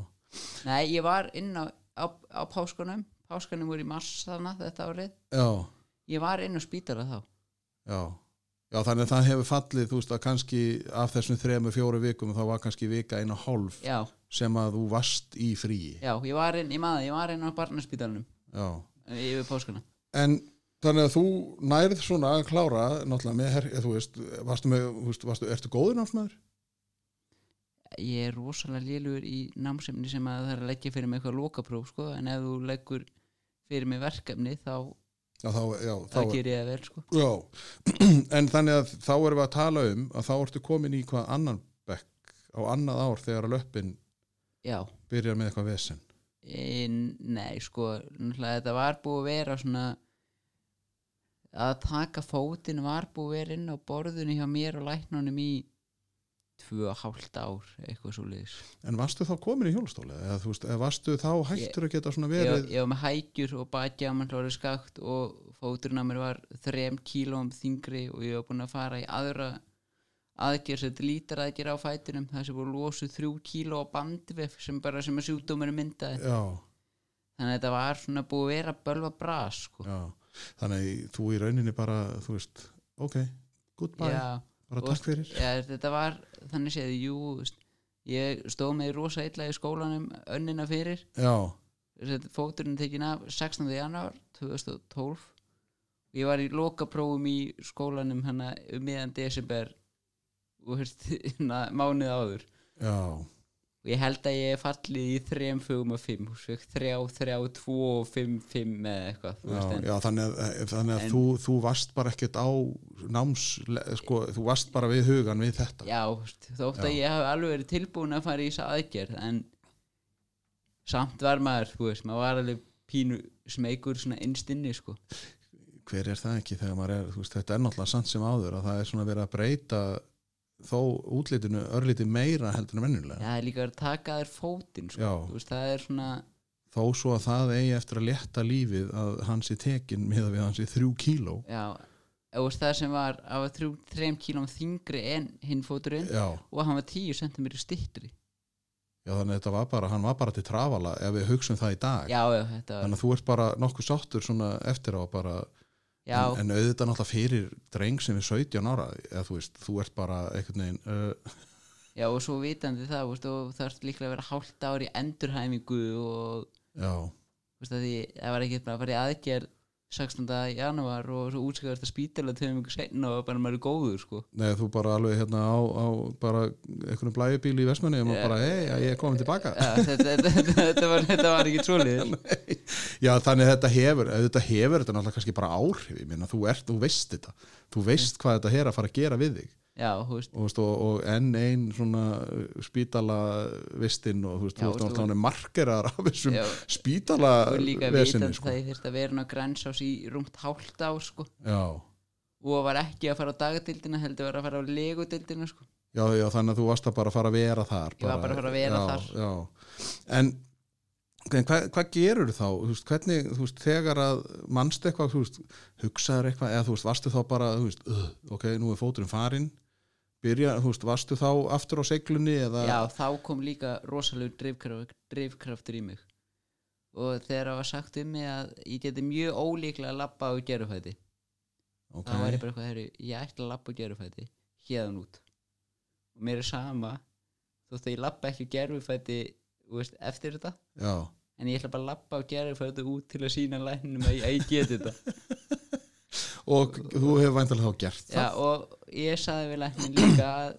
Nei, ég var inn á, á, á páskunum Páskunum voru í mars þannig þetta árið já, Ég var inn á spítala þá já Já, þannig að það hefur fallið, þú veist, að kannski af þessum þremur, fjóru vikum þá var kannski vika einu og hálf Já, sem að þú vast í fríi já, ég var inn, ég maður, ég var inn á barnaspítalanum eh, Já. yfir páskuna En þannig að þú nærð svona að klára náttúrulega með herr, þú veist, varstu með, þú veist, varstu, ertu góður námsmaður? ég er rosalega lélugur í námsefni sem að það er að leggja fyrir mig eitthvað lokapróf sko, en ef þú leggur fyrir mig verkefni þá, Já, þá, já, þá þá ger ég það vel sko. já. en þannig að þá erum við að tala um að þá ertu komin í hvað annan bekk á annað ár þegar að löppin já, byrjar með eitthvað vesen e, nei sko náttúrulega þetta var búið að vera svona að taka fótinn var búið að vera inn á borðinu hjá mér og læknunum í tvö og hálft ár eitthvað svo liðis en varstu þá komin í hjólastóla eða þú veist, eða varstu þá hættur að geta svona ég, verið ég var með hækjur og bakja mann hlóri skakt og fóturinn á mér var þrem kílóum þingri og ég var búin að fara í aðra aðgerð sem þetta lítar aðgerð á fætinum það sem voru losuð þrjú kíló á bandvef sem bara sem að sjúkdómur myndaði já, þannig að þetta var svona búið að vera að bölva bras sko. já, þannig að þú í rauninni bara, þú veist, ok goodbye, já, bara og- takk fyrir já, þetta var þannig séð jú, þú veist, ég stóð með rosa illa í skólanum önnina fyrir já, Þetta fóturinn tekin af 16. januar 2012 ég var í lokaprófum í skólanum hana um miðan desember og hérst mánuð áður já, og ég held að ég hef fallið í 3, 4 og 5 3, 3, 2 og 5, 5 eða eitthvað þú já, veist, en- já þannig að, eh, þannig að En- þú, þú varst bara ekkert á náms, sko, þú varst bara við hugan við þetta já, þú veist, þótt Já. að ég hef alveg verið tilbúin að fara í þessa aðgerð en samt var maður þú veist, maður var alveg pínu smeykur svona innstinni sko hver er það ekki þegar maður er þú veist, þetta er náttúrulega sant sem áður að það er svona verið að breyta þó útlitinu örlítið meira heldur en Já, vennulega það er líka að taka þér fótinn sko. Já. Þú veist, það er svona þó svo að það eigi eftir að létta lífið að hans í tekin miða við hans í þrjú kíló Já, og veist, það sem var af að þrjú, þreim kílum þingri en hinn fóturinn já, og hann var tíu sentum stittri já þannig að þetta var bara hann var bara til trafala ef við hugsun það í dag já, já, þetta var þannig að þú ert bara nokkuð sáttur svona eftir á bara já, en, en auðvitað náttúrulega fyrir dreng sem er 17 ára eða þú veist, þú ert bara einhvern veginn uh, já, og svo vitandi það veist, og það er líklega að vera hálft ár í endurhæmingu og já, veist, að því, það var ekki bara að fara í aðgerð 16. janúar og svo útskjöðast að spítala tveim ykkur seinna og bara maður er góður sko. neða þú bara alveg hérna á, á bara einhvern blæjubíl í Vestmanni og maður bara, hei, ég er komin tilbaka ja, þetta, þetta, þetta, þetta, var, þetta var ekki svoleiðis Já, þannig að þetta hefur, þetta hefur þetta náttúrulega kannski bara áhrif, ég meina, þú, ert, þú veist þetta, þú Mm. veist hvað þetta er að fara að gera við þig já, þú veist og, veist, og, og enn ein svona uh, spítala vistinn og þú veist, Já, þú og veist þú- náttúrulega markerar af þessum Já. spítala og líka vesinni, vitandi sko. það ég þurfti að vera ná grænsás í rúmt hálft ár sko. Já. og var ekki að fara á dagatildina heldur var að fara á legutildina sko. Já, já, þannig að þú varst að bara fara að vera þar. Ég var bara að fara að vera já, þar. Já, en, en hvað, hvað gerur þá, þú veist, hvernig, þú veist, þegar að mannst eitthvað, þú veist, hugsaður eitthvað, eða þú veist, varstu þá bara, þú veist, uh, ok, nú er fóturinn farinn, byrja, þú veist, varstu þá aftur á seglunni eða, já, þá kom líka rosalegu drifkraft, drifkraftur í mig og þegar það var sagt um mig að ég geti mjög ólíklega að labba á gerufæti ok, þá var ég bara eitthvað, herri, ég ætla að labba á gerufæti hérðan út og mér er sama þótt að ég labba ekki á gerufæti veist, eftir þetta já, en ég ætla bara að labba á gerufæti út til að sína lækninum að ég, að ég geti þetta og þú hefur væntalega þá gert Já, og ég saði við læknin líka að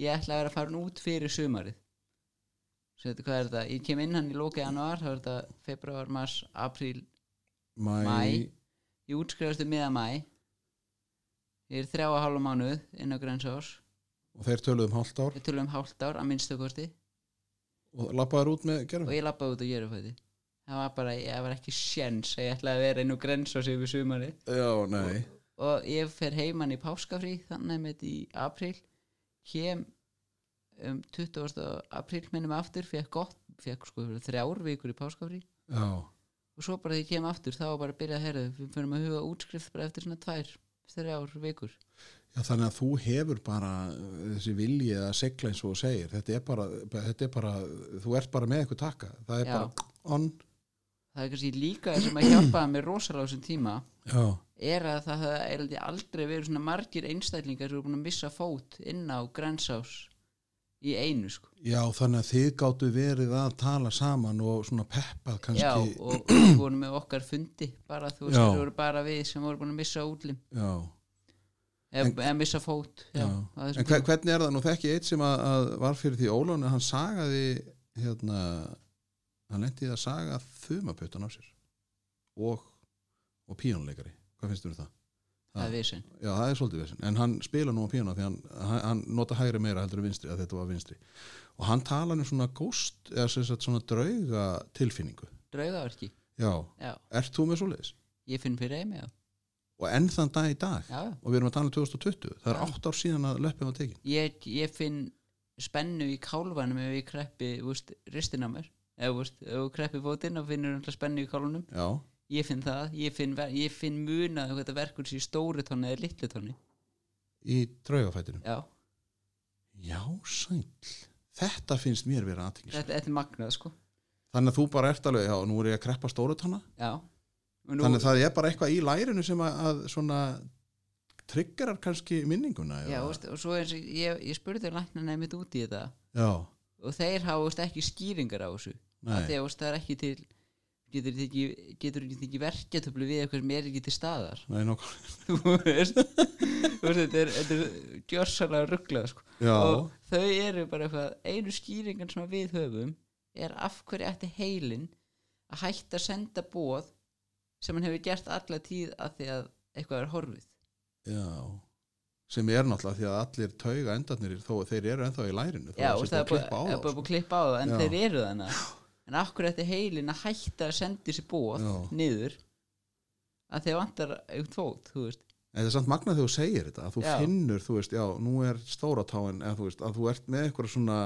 ég ætla að vera að fara út fyrir sumarið Svo þetta, hvað er þetta? Ég kem inn hann í lóki januar, þá er þetta februar, mars, apríl mæ, Mæ. Ég útskrifastu miða mæ Ég er þrjá að hálfa mánuð inn á grænsás og þeir töluðu um hálft ár Við tölum um hálft ár að minnstakosti og lappaður út með og gerfum. ég labbaði út á gerufæti Það var bara, ég var ekki sjens að ég ætla að vera inn á grænsás yfir sumarið Já, nei, og ég fer heiman í páskafrí þannig með þetta í apríl kem um 20. apríl minnum aftur fekk gott, fekk sko þrjár vikur í páskafrí já, og svo bara þegar ég kem aftur þá var bara að byrja að herða við fyrir að huga útskrift bara eftir svona tvær þrjár vikur Já, þannig að þú hefur bara uh, þessi vilji að segla eins og þú segir þetta er bara, þetta er bara þú ert bara með eitthvað taka það er Já. bara on það er kannski líka sem að hjálpaði mér rosalega á þessum tíma Já, er að það hefði eiginlega aldrei verið svona margir einstætlingar sem eru búin að missa fót inn á grænsás í einu sko Já þannig að þið gáttu verið að tala saman og svona peppa kannski Já, og við vorum með okkar fundi bara þú veist, Já. það voru bara við sem voru búin að missa útlim Já. En- eða missa fót já, Já. á þessum En hver, tíma. hvernig er það, nú þekki ég eitt sem að, að var fyrir því Ólán að hann sagaði hérna, hann lendi að saga þumaputtan á sér og, og píónuleikari hvað finnst þú um það? það er vissin Já, það er svolítið vesinn, en hann spila nú á píónu því hann, hann, hann nota hægri meira heldur en vinstri að þetta var vinstri og hann tala um svona góst, eða sem sagt svona drauga tilfinningu, draugaverki, já, já, ert þú með svoleiðis? ég finn fyrir eimi já, Og enn þann dag í dag já, já. og við erum að tala um 2020, það er Já. átt ár síðan að löppið var tekin ég, ég finn spennu í kálvanum ef ég kreppi úst, ristin á mér ef, úst, ef þú kreppi fótinn og finnur alltaf spennu í kálvanum Já, ég finn það, ég finn, ver- ég finn munað um þetta verkur sé í stóru tónni eða litlu tónni í draugafætinum já, Já, sæll. Þetta finnst mér vera aðtingis. þetta, þetta er magnað sko Þannig að þú bara ert alveg, já, nú er ég að kreppa stóru tanna. já Og nú, Þannig að það er bara eitthvað í lærinu sem að, að svona triggerar kannski minninguna. já, eða- úst, og svo eins og ég, ég spurði læknan einmitt út í þetta já, og þeir hafa úst, ekki skýringar á þessu að nei, því að úst, það er ekki til getur þetta ekki, getur þetta ekki verkjatöflu við eitthvað sem er ekki til staðar nei, nokkuð. þú veist þú veist, þetta er, þetta er gjörsalega rugglað sko. Já, og þau eru bara eitthvað einu skýringan sem við höfum er af hverju ætti heilin að hætta að senda bóð sem hann hefur gert alla tíð að því að eitthvað er horfið já. Sem er náttúrulega því að allir tauga endarnir, þó að þeir eru ennþá í lærinu. já, og það er klippa búið á er þá. sko. búið að klippa á það en Já. þeir eru þannig en af hverju ætti heilin að hætta að senda þessi bóð Já. niður að þeir vantar eitthvað fót þú veist En það er samt magnað þegar þú segir þetta, að þú Já. finnur, þú veist, já, nú er stóra táin, eða þú veist, að þú ert með eitthvað svona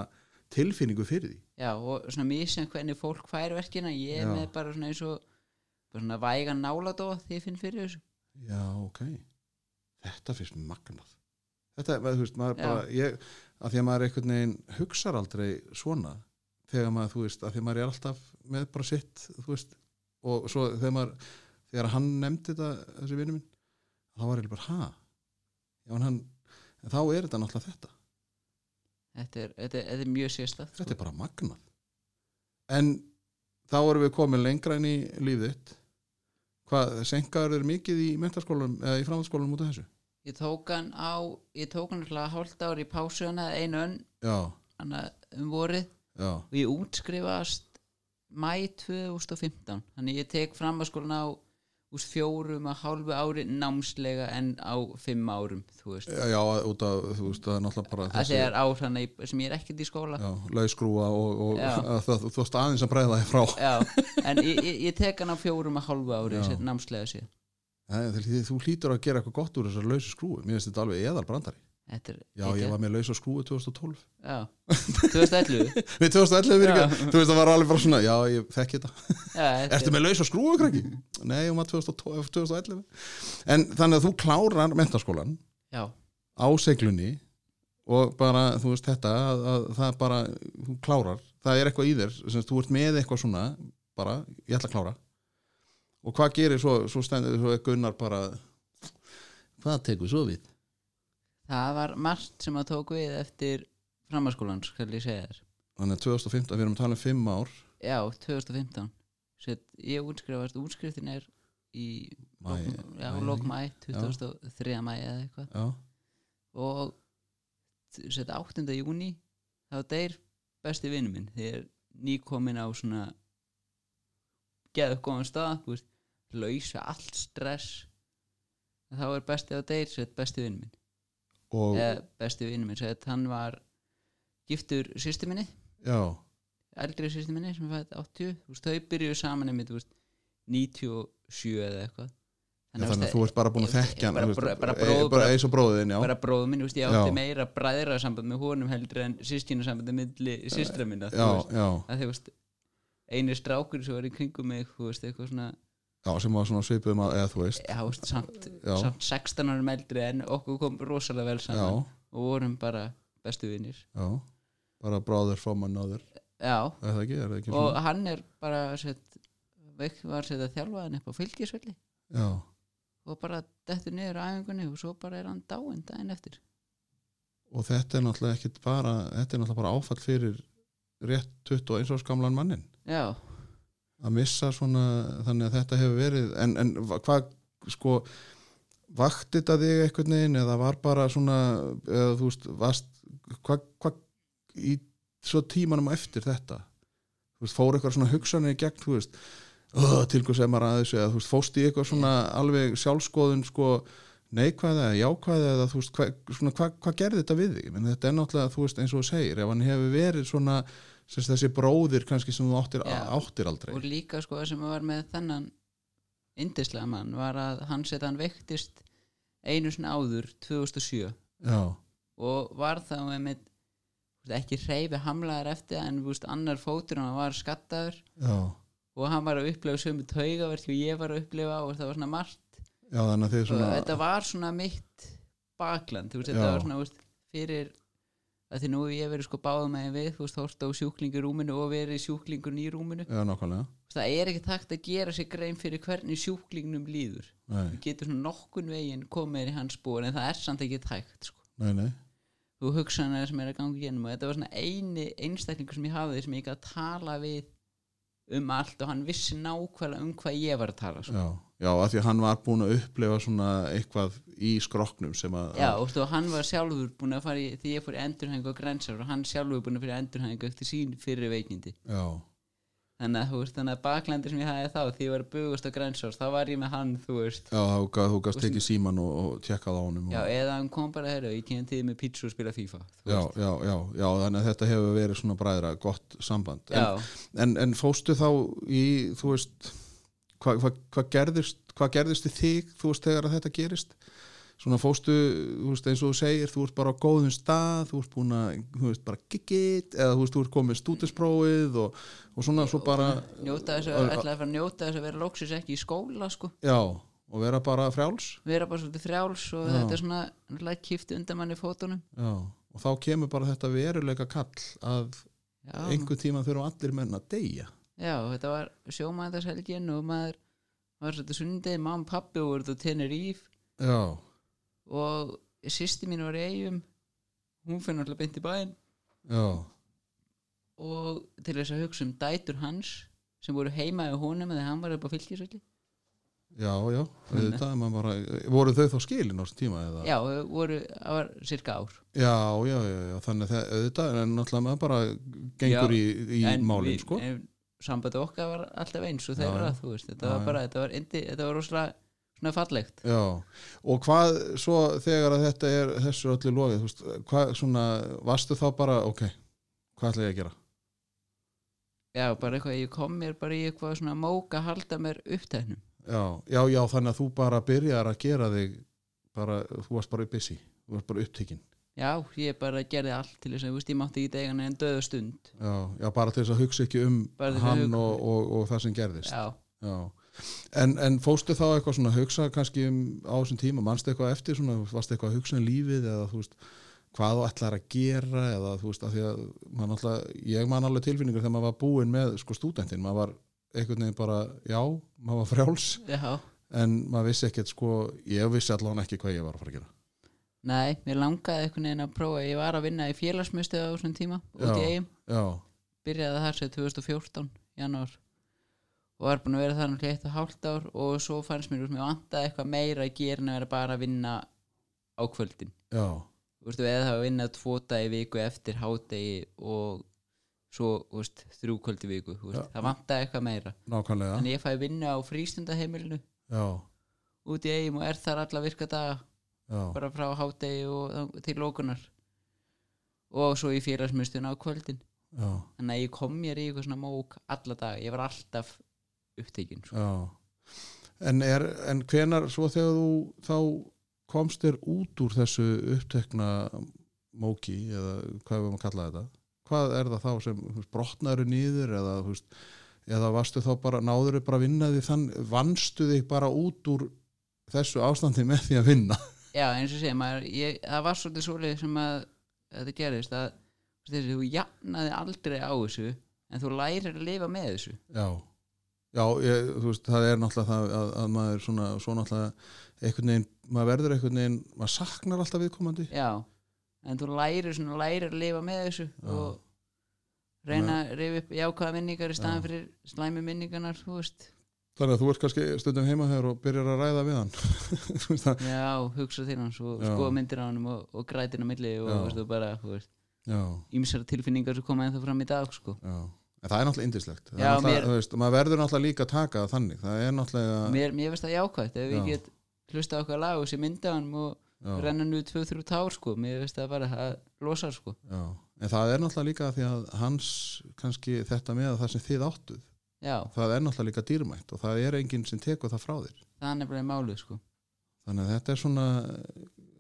tilfinningu fyrir því. Já, og svona misjæn hvernig fólk fær verkina, ég er Já. með bara svona eins og bara svona vægan náladóð því ég finn fyrir þessu. Já, ok. Þetta finnst mér magnað. Þetta, er, maður, þú veist, maður Já. bara, ég, að því að maður einhvern veginn hugsar aldrei svona þegar maður, þú veist, að því að maður er alltaf með bara sitt, þú veist, og svo þegar maður, þegar hann nefndi þetta, þessi vinur minn, þá var ég bara, ha? Já, en hann, en þá er þetta náttúrulega þetta. Þetta er, þetta er, þetta er mjög sko. sérstætt. Þetta er bara magnað. En þá erum við komin lengra inn í líf þitt. Hvað, senkaður er mikið í mentaskólanum, eða í framhaldsskólanum út af þessu? Ég tók hann á, ég tók hann alltaf hálft ári í pásu hana, einu önn, Já, hana um vorið já. og ég útskrifast mæ 2015. Þannig ég tek fram að skólan á úr fjórum að hálfu ári námslega en á fimm árum, þú veist. Já, já, út af, þú veist, það er náttúrulega bara Það er ár hana í- sem ég er ekkert í skóla. já, lausgrúa og, og Já. að það, þú veist aðeins að bregða þér frá. Já, en ég, ég, ég tek hann á fjórum að hálfu ári, Já. sér, námslega sér. Það, er- því, þú hlýtur að gera eitthvað gott úr þessar lausu skrúi. Mér finnst þetta alveg eðal brandari. Þetta er Já, ég var með lausa skrúi 2012. Já, 2011 Við 2011 fyrir Já. ekki, þú veist, það var alveg bara svona, já, ég þekki þetta. Já, þetta Ertu er- með lausa skrúi, krakki? Nei, ég var 2012, 2011. En þannig að þú klárar mentaskólan Já, á seglunni og bara, þú veist, þetta, að, að það bara, þú klárar, það er eitthvað í þér, sem sagt, þú ert með eitthvað svona, bara, ég ætla að klára. Og hvað gerir svo, svo stendur, svo er Gunnar bara, hvað tekur svo við? það var margt sem að tók við eftir framhanskólan, skal ég segja þér Þannig að 2015, við erum að tala um fimm ár, Já, 2015 Sett, Ég útskrifast, útskriftin er í Mæ, lok- já, mæ- lók mæ, 2003 mæ eða eitthvað já, og set, 8. júni þá deyr besti vinnu minn þegar nýkomin á svona geða upp góðan stað þú veist, lausa allt stress þá er besti á deyr set, besti vinnu minn og, eða besti vinnu minn set, hann var giftur sýstu minni já, eldri sýstu minni sem fætt 80 þú veist, þau byrjuðu saman einmitt þú veist, 97 eða eitthvað já, þannig að þú ert bara búin að ég- ég- þekkja hann, bara- þú veist, bara- bara eh, bróð- bara bara- eins og bróðin, já, bara bróðum minn, þú veist, ég Já. átti meira bræðra samband með honum heldur en sískina samband milli sístra minna þú já, veist. já, að þú veist, eini strákur sem var í kringum mig, þú veist, eitthvað svona já, sem var svona svipum að, eða þú veist, já, þú veist, samt, Já. samt 16 árum eldri en okkur kom rosalega vel já, saman og vorum bara bestu vinnir já, bara bróður frá mann áður, já, er það ekki, er það ekki svona? og hann er bara sett, veik var sett að þjálfa hann upp á fylgisvelli Já, og bara dettur niður á æfingunni og svo bara er hann dáinn daginn eftir og þetta er náttúrulega ekkit bara þetta er náttúrulega bara áfall fyrir rétt 21 árs gamlan mannin já, að missa svona, þannig að þetta hefur verið en, en hva- hvað, sko vakti þetta þig einhvern veginn eða var bara svona eða þú veist, varst hvað hva, í svo tímanum á eftir þetta þú veist, fór eitthvað svona hugsanir í gegn, þú veist "Ugh, til hvað sem maður að þessu eða þú veist, fóst í eitthvað svona alveg sjálfskoðun sko neikvæða eða jákvæða eða þú veist, hva, svona hvað hva gerði þetta við þig menn þetta er náttúrulega, þú veist, eins og þú segir ef hann hefur verið svona sem sagt, þessi bróðir kannski sem þú áttir, Já. áttir aldrei og líka sko sem var með þennan yndislega mann var að hann set hann veiktist einu sinni áður 2007 já, og var þá einmitt þú veist, ekki hreyfi hamlaðar eftir það, en þú veist, annar fótur hann var skattaður já, og hann var að upplifa sömu taugavert og ég var að upplifa og það var svona margt já, þannig að þið og svona þetta var svona mitt bakland þú veist, Já. þetta var svona þú veist, fyrir að því nú hef ég verið sko báðum með við þú veist, hórst á sjúklingur rúminu og verið sjúklingur í rúminu já, nákvæmlega Þú veist, það er ekkert hægt að gera sér grein fyrir hvernig sjúklingnum líður nei, þú getur svona nokkun veginn komið í hans spór en það er samt ekki hægt sko. nei, nei, þú hugsanar sem er að ganga gennum og þetta var svona eini einstaklingur sem ég hafði sem ég gæti að tala við um allt og hann vissi nákvæmlega um hvað ég var að tala sko. já, já, að því að hann var búin að upplifa svona eitthvað í skroknum sem að já, og þú, hann var sjálfur búin að fara í því ég fór í endurhæðingu á grænsar og hann sjálfur búin að fyrir endurhæðingu eftir sín fyrir veikindi já, þannig að, þú veist, þannig að baklandi sem ég hafði þá því ég var að bugast á grænsar þá var ég með hann, þú veist já, þá gaf- þú gafst tekið síman og, og tjekkað á honum Já, og, eða hann kom bara herru, ég kemur til þig með pítsu og spila FIFA þú já, veist. já, já, já, þannig að þetta hefur verið svona bræðra gott samband já, en, en, en fóstu þá í, þú veist hvað hva, hva gerðist hvað gerðist í þig, þú veist, þegar að þetta gerist svona fóstu, þú veist, eins og þú segir þú ert bara á góðum stað, þú ert búin að þú veist, bara giggit, eða þú veist, þú ert komið stúdinsprófið og, og svona svo bara, njóta þess að, ætlaði að fara að njóta þess að vera loksis ekki í skóla sko, já og vera bara frjáls vera bara svolítið frjáls og Já. þetta er svona, náttúrulega kýft undan manni fótunum já. og þá kemur bara þetta veruleika kall að já, einhver tíma þurfa allir menn að deyja já, þetta var sjómaðarshelgin og maður var svolítið sundið, mamma og pappi voru þú tennir íf já, og sýsti mín var í eigum hún fyrir náttúrulega beint í bæinn já, og til þess að hugsa um dætur hans sem voru heima í honum eða hann var upp á fylgisöldi já, já þetta, bara, voru þau þá skilin á þessum tíma eða? já, voru, það var cirka ár Já, já, já, já, þannig að það- auðvitað er náttúrulega maður bara gengur Já, í, í En málin, við- sko. en sambandi okkar var alltaf eins og Já, þeirra, já. þú veist, þetta Já, var já. bara þetta var, indi, þetta var rosalega svona fallegt Já, og hvað svo þegar að þetta er þessu öllu logið, þú veist, hvað svona, varstu þá bara, ok, hvað ætla ég að gera? já, bara eitthvað, ég kom mér bara í eitthvað svona mók að halda mér upptæknum Já, já, já, þannig að þú bara byrjar að gera þig, bara, þú varst bara busy, þú varst bara upptikinn. já, ég bara gerði allt til þess að, þú veist, ég mátti ekki degana en döðu stund Já, já, bara til þess að hugsa ekki um Bara til þess að hann hugsa- og, og, og það sem gerðist. já, Já, en, en fóstu þá eitthvað svona að hugsa kannski um á þessum tíma, manstu eitthvað eftir svona, varstu eitthvað að hugsa um lífið eða þú veist, hvað þú ætlar að gera eða þú veist, af því að mann alltaf, ég man alveg tilfinningur þegar maður var búinn með sko stúdentinn, maður var einhvern veginn bara, já, maður var frjáls já, en maður vissi ekkert sko, ég vissi allavega ekki hvað ég var að fara að gera. nei, mér langaði einhvern veginn að prófa, ég var að vinna í félagsmyndstu á svona tíma, út í Já. eigum Já, byrjaði þar sér 2014 janúar og var búin að vera þar um hlétt og hálft ár og svo fannst mér að mér vantaði eitthvað meira að gera en að vera bara að vinna á kvöldin já, Þú veist, eða það að vinna tvo dagi í viku eftir hádegi og svo þú veist, þrjú kvöldi viku þú veist, Já. það vantaði eitthvað meira nákvæmlega, þannig ég fæði vinna á frístundaheimilinu já, út í eigum og er þar alla virka daga já, bara frá hádegi og þang- til lókunar og svo í félagsmyndstunna á kvöldin já, þannig að ég kom mér í eitthvað svona mók alla dag, ég var alltaf upptekinn sko. já. En, er, en hvenar svo þegar þú þá komst þér út úr þessu upptekna móki eða hvað við maður að kalla þetta hvað er það þá sem þú veist, brotnaru nýður eða, þú veist, eða varstu þá bara náður bara að vinna því þann vannstu þig bara út úr þessu ástandi með því að vinna já eins og segja, maður, ég, það var svolítið svolítið sem að þetta gerist að þú veist, þessi, þú jafnaði aldrei á þessu en þú lærir að lifa með þessu Já, já ég, þú veist, það er náttúrulega það að, að maður svona, svo náttúrulega einhvern veginn, maður verður einhvern veginn maður saknar alltaf viðkomandi já, en þú lærir svona lærir að lifa með þessu og reyna að reyfa upp jákvæða minningar í staðan fyrir slæmi minningarnar þú veist, Þannig að þú ert kannski stundum heima hér og byrjar að ræða við hann Þú veist það já, hugsa til hans og Já. skoða myndir á hann og, og grætin á milli og Já. veist, og bara, þú veist, Já, ímsar tilfinningar sem koma ennþá fram í dag sko. já En það er náttúrulega indislegt Já, mér- mér... veist, og Maður verður náttúrulega líka að taka það þannig Það er náttúrulega mér, mér veist það jákvæmt ef Já. ég get hlusta á okkar lag og sé mynda hann og já. renna nú 2-3 tár sko, mér veist það bara að losa sko. Já, en það er náttúrulega líka því að hans kannski þetta með að það sem þið áttuð já, það er náttúrulega líka dýrmætt og það er enginn sem tekur það frá þér það er nefnilega málið sko. þannig að þetta er svona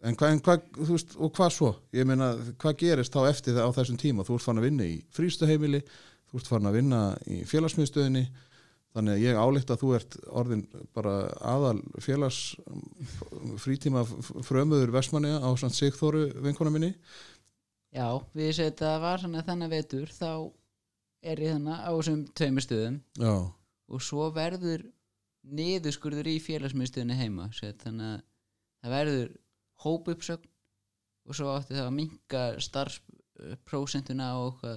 en hvað, en hvað þú veist, og hvað svo ég meina, hvað gerist þá eftir það á þessum tíma þú ert farin að vinna í frístuheimili þú ert farin að vinna í félagsmiðstöðinni þannig að ég álíkt að þú ert orðin bara aðal félags frítíma frömuður Vestmanniða á samt Sigþóru vinkona minni já, við séum þetta var svona þannig vetur þá er ég þannig á þessum tveimur stöðum já, og svo verður niðurskurður í félagsmiðstöðinni heima sér, þannig að það verður hópuppsögn og svo átti það að minka starfsprósentuna og eitthvað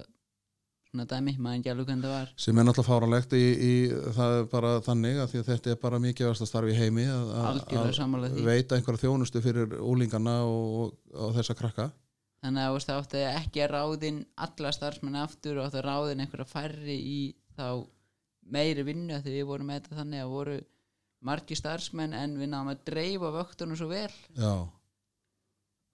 svona dæmi, maður ekki alveg hvernig það var sem er náttúrulega fáranlegt í, í, það er bara þannig að, því að þetta er bara mikilvægast að starfi í heimi að, að, algjörlega að sammála því veita einhverja þjónustu fyrir úlingarna og, og, og þessa krakka þannig að þú veist, það átti ekki að ráðin alla starfsmenn aftur og átti að ráðin einhverja færri í þá meiri vinnu af því við vorum með þetta þannig að voru margi starfsmenn en við náðum að dreifa vöktunum svo vel já,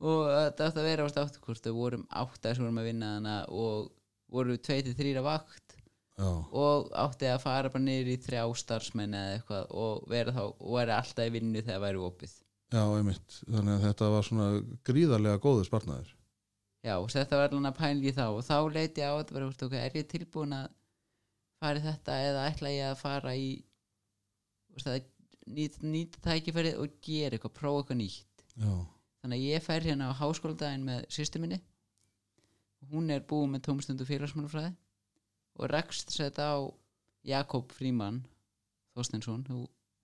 og þetta átti að vera ást áttu hvort við vorum átta sem vorum að vinna hana og voru tvei til þrýra vakt já, og átti að fara bara niður í þrjá starfsmenn eða eitthvað og vera þá og vera alltaf í vinnu þegar væri opið já, einmitt þannig að þetta var svona gríðarlega góður sparnaður já, og þetta var allan að pæla í þá og þá leiti ég á þetta bara, veist, ok, er ég tilbúin að fara í þetta eða ætla ég að fara í veist, að nýta, nýta tækifærið og gera eitthvað, prófa eitthvað nýtt já, þannig að ég fer hérna á háskóldaginn með sýstu minni hún er búin með tómstundu félagsmálufræði og rekst þetta á Jakob Frímann Þorstensson, þú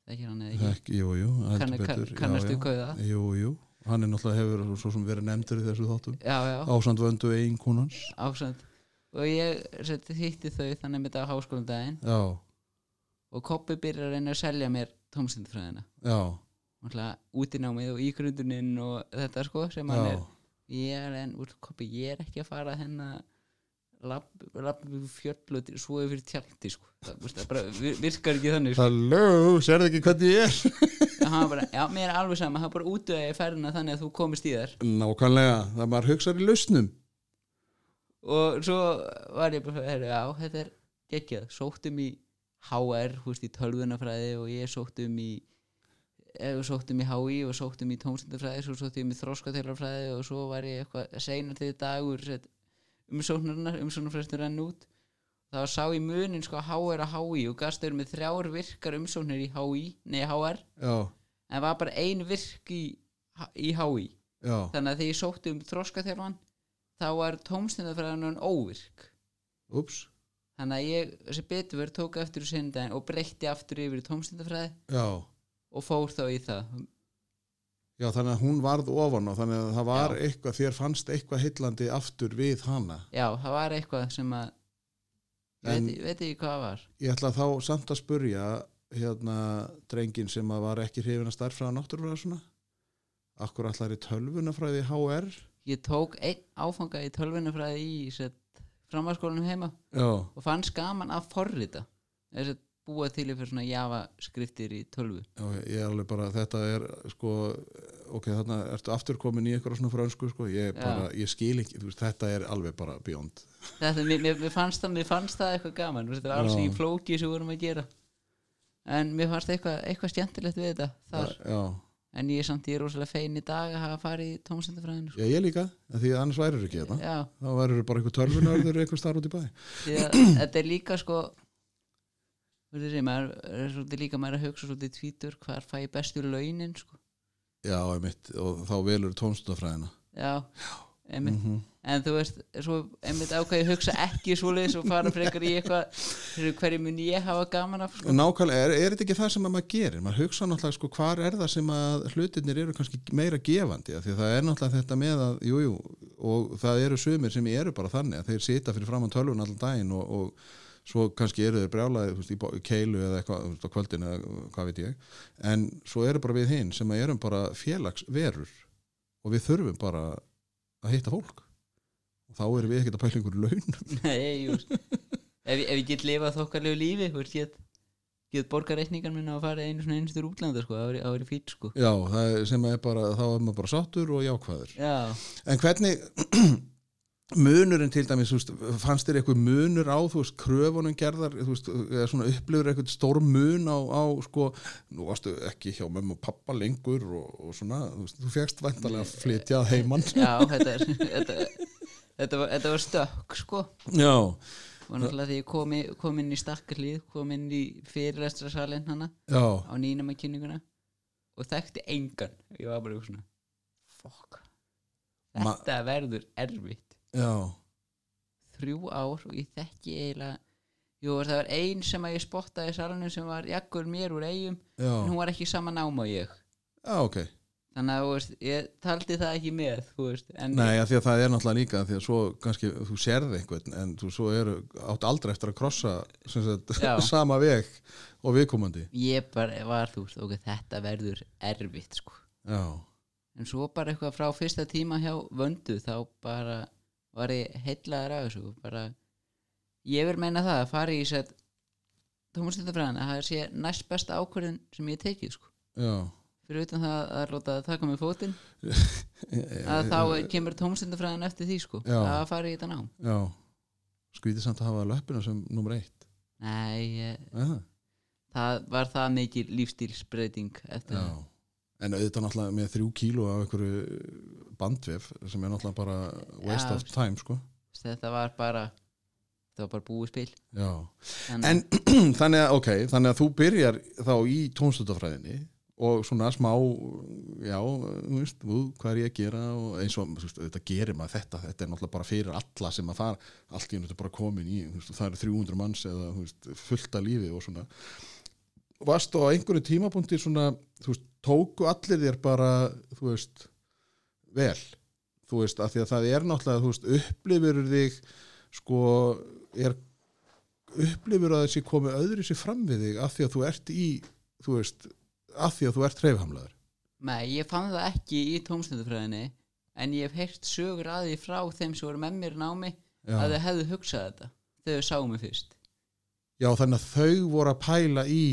þekkir hann eða ekki ekki, jú, jú Kann- heldur kann- betur, kannastu já, kauða já, jú, jú hann er náttúrulega hefur svo sem verið nefndur í þessu þáttum já, já, ásand vöndu eiginkonans ásand og ég set, hitti þau þannig með þetta á háskóldaginn já, og Koppi byrjar að reyna að selja mér tómstundfræðina já, útinámið og ígrunduninn og þetta sko sem hann já er ég er, en, úr, Koppi, ég er ekki að fara hérna hennar lapp við fjöll og svo yfir tjaldi sko. það, úst, það bara vir- virkar ekki þannig sko. Halló, sérðu ekki hvernig ég er? En hann var bara, já, mér er alveg sama, hann bara útvegaði ferðina þannig að þú komist í þær Nákvæmlega, það maður hugsar í lausnum og svo var ég bara, heru, já, þetta er geggjað, sóttum í HR, þú veist, í tölvunafræði og ég sóttum í eða sóttum í HÍ og sóttum í tómstundafræði svo sóttum í þróskatölarfræði og svo var ég eitthvað seinar til dagur set, umsóknarnar, umsóknarfræstur rann út þá sá ég munin sko HR og HÍ og gasta eru með þrjár virkar umsóknir í HÍ, nei HR Já, en var bara ein virk í, í HÍ já, þannig að þegar ég sótti um þróskaþjálfan þá var tómstundafræðan óvirk ups þannig að ég sem betur verið tók eftir þessu hinn daginn og breytti aftur yfir í tómstundafræði Já, og fór þá í það já, þannig að hún varð ofan og þannig að það var eitthvað, þér fannst eitthvað heillandi aftur við hana. já, það var eitthvað sem að ég En- veit, ég veit ekki hvað það var Ég ætla þá samt að spurja hérna drengin sem að var ekki hrifin að starffræða náttúrufræða svona. Akkur allar í tölvunafræði HR? ég tók einn áfanga í tölvunafræði í set, framhanskólanum heima Já, og fann skaman að forrita þess að búa til yfir svona javaskriftir í tölvu já, ég er alveg bara, þetta er sko, ok, þarna ertu aftur komin í eitthvað svona frönsku sko, ég, er Já. bara, ég skil ekki, þú veist, þetta er alveg bara bjónd. þetta, mér, mér, mér, fannst það, mér fannst það eitthvað gaman þú veist, þetta var alls Já. ekki flókið sem við vorum að gera en mér fannst eitthvað, eitthvað skemmtilegt við þetta þar, Já, en ég er samt ég er rosalega fein í dag að hafa farið í tómsendafræðinu sko. já, ég líka, af því að annars værir ekki þetta. já, Þá værir bara eitthvað tölvunarður eitthvað starf út í bæ. því að þetta er líka sko þú veist, maður er svolítið líka maður er að hugsa svolítið tvítur hvar fæ ég bestu launin sko. Já, einmitt, og þá velur tónstundafræðina. já, einmitt Mhm. en þú veist, svo einmitt ákvæði hugsa ekki svoleiðis og fara frekar í eitthvað fyrir hverju mun ég hafa gaman af sko. Nákvæmlega, er, er þetta ekki það sem að maður gerir? Maður hugsa náttúrulega sko hvar er það sem að hlutinir eru kannski meira gefandi af því að það er náttúrulega þetta með að jújú, jú, og það eru sumir sem eru bara þannig að þeir sita fyrir fram á tölvun allan daginn og, og svo kannski eru þeir brjálaði veist, í bo- keilu eða eitthvað þú veist, á kvöldin eða hvað veit ég en svo eru bara við hinn sem að erum bara félagsverur og við þurfum bara að hitta fólk og þá erum við ekkert að pæla einhverju launum Nei, jú, ef, ég- ef ég get lifað þokkarlegu lífi þú veist, ég get borga reikningar minna og farið einu svona einstur útlanda sko, það væri fýt sko já, það er, sem er bara, þá er maður bara sáttur og jákvæður já, En hvernig munurinn til dæmis, þú veist, fannst þér eitthvað munur á, þú veist, kröfunum gerðar, þú veist, eða svona upplifur eitthvað stór mun á, á sko, nú varstu ekki hjá mömmu og pappa lengur og, og svona, þú veist, þú fegst væntalega að flytja að heimann. já þetta, er, þetta, þetta, var, þetta var stökk sko Já, og náttúrulega þegar ég kom, í- kom inn í stakkarlið kom inn í fyrirlestrasalinn hana já, á nýnama kynninguna og þekkti engan ég var bara eitthvað svona fuck, Ma- þetta verður erfitt já, þrjú ár og ég þekki eiginlega jú, það var ein sem að ég spottaði í salunum sem var jakkur mér úr eigum já, en hún var ekki sama nám á ég já, ok. þannig að þú veist, ég taldi það ekki með þú veist, en Nei, að því að það er náttúrulega líka, af því að svo kannski þú sérði einhvern, en þú svo eru átt aldrei eftir að krossa sem sagt, Já. sama veg og viðkomandi. ég bara var þú veist, ok, þetta verður erfitt sko. Já, en svo bara eitthvað frá fyrsta tíma hjá vöndu þá bara var ég heillaður af þessu bara, ég vil meina það að fara í þess að tómastundafræðan að það sé næst besta ákvörðin sem ég hef tekið sko. já. fyrir utan það að láta það taka mig fótinn að þá kemur tómstundafræðan eftir því sko, Já. að fara í þetta nám Já, skrítið samt að hafa löppina sem nummer eitt nei, ég, Eða? það var það mikil lífstílsbreyting eftir Já það En auðvitað náttúrulega með þrjú kíló af einhverju bandvef sem er náttúrulega bara waste Já. of time sko. þetta var bara þetta var bara búið spil Já. en, En þannig að, ok, þannig að þú byrjar þá í tónstundafræðinni og svona smá, já, þú veist, þú, hvað er ég að gera og eins og, þú veist, auðvitað gerir maður þetta, þetta er náttúrulega bara fyrir alla sem að fara, allt í hennu þetta bara komin í, þú veist, það eru 300 manns eða, þú veist, fullt að lífi og svona. Varst þú á einhverju tímapunkti svona, þú veist, tóku allir þér bara, þú veist, vel, þú veist, af því að það er náttúrulega, þú veist, upplifur þig, sko, er upplifur að þessi komið öðru sér fram við þig af því að þú ert í þú veist, af því að þú ert hreyfhamlaður nei, ég fann það ekki í tómstundafræðinni en ég hef heyrt sögur að því frá þeim sem voru með mér í námi já. að þau hefðu hugsað þetta þegar þau sáu mig fyrst já, þannig að þau voru að pæla í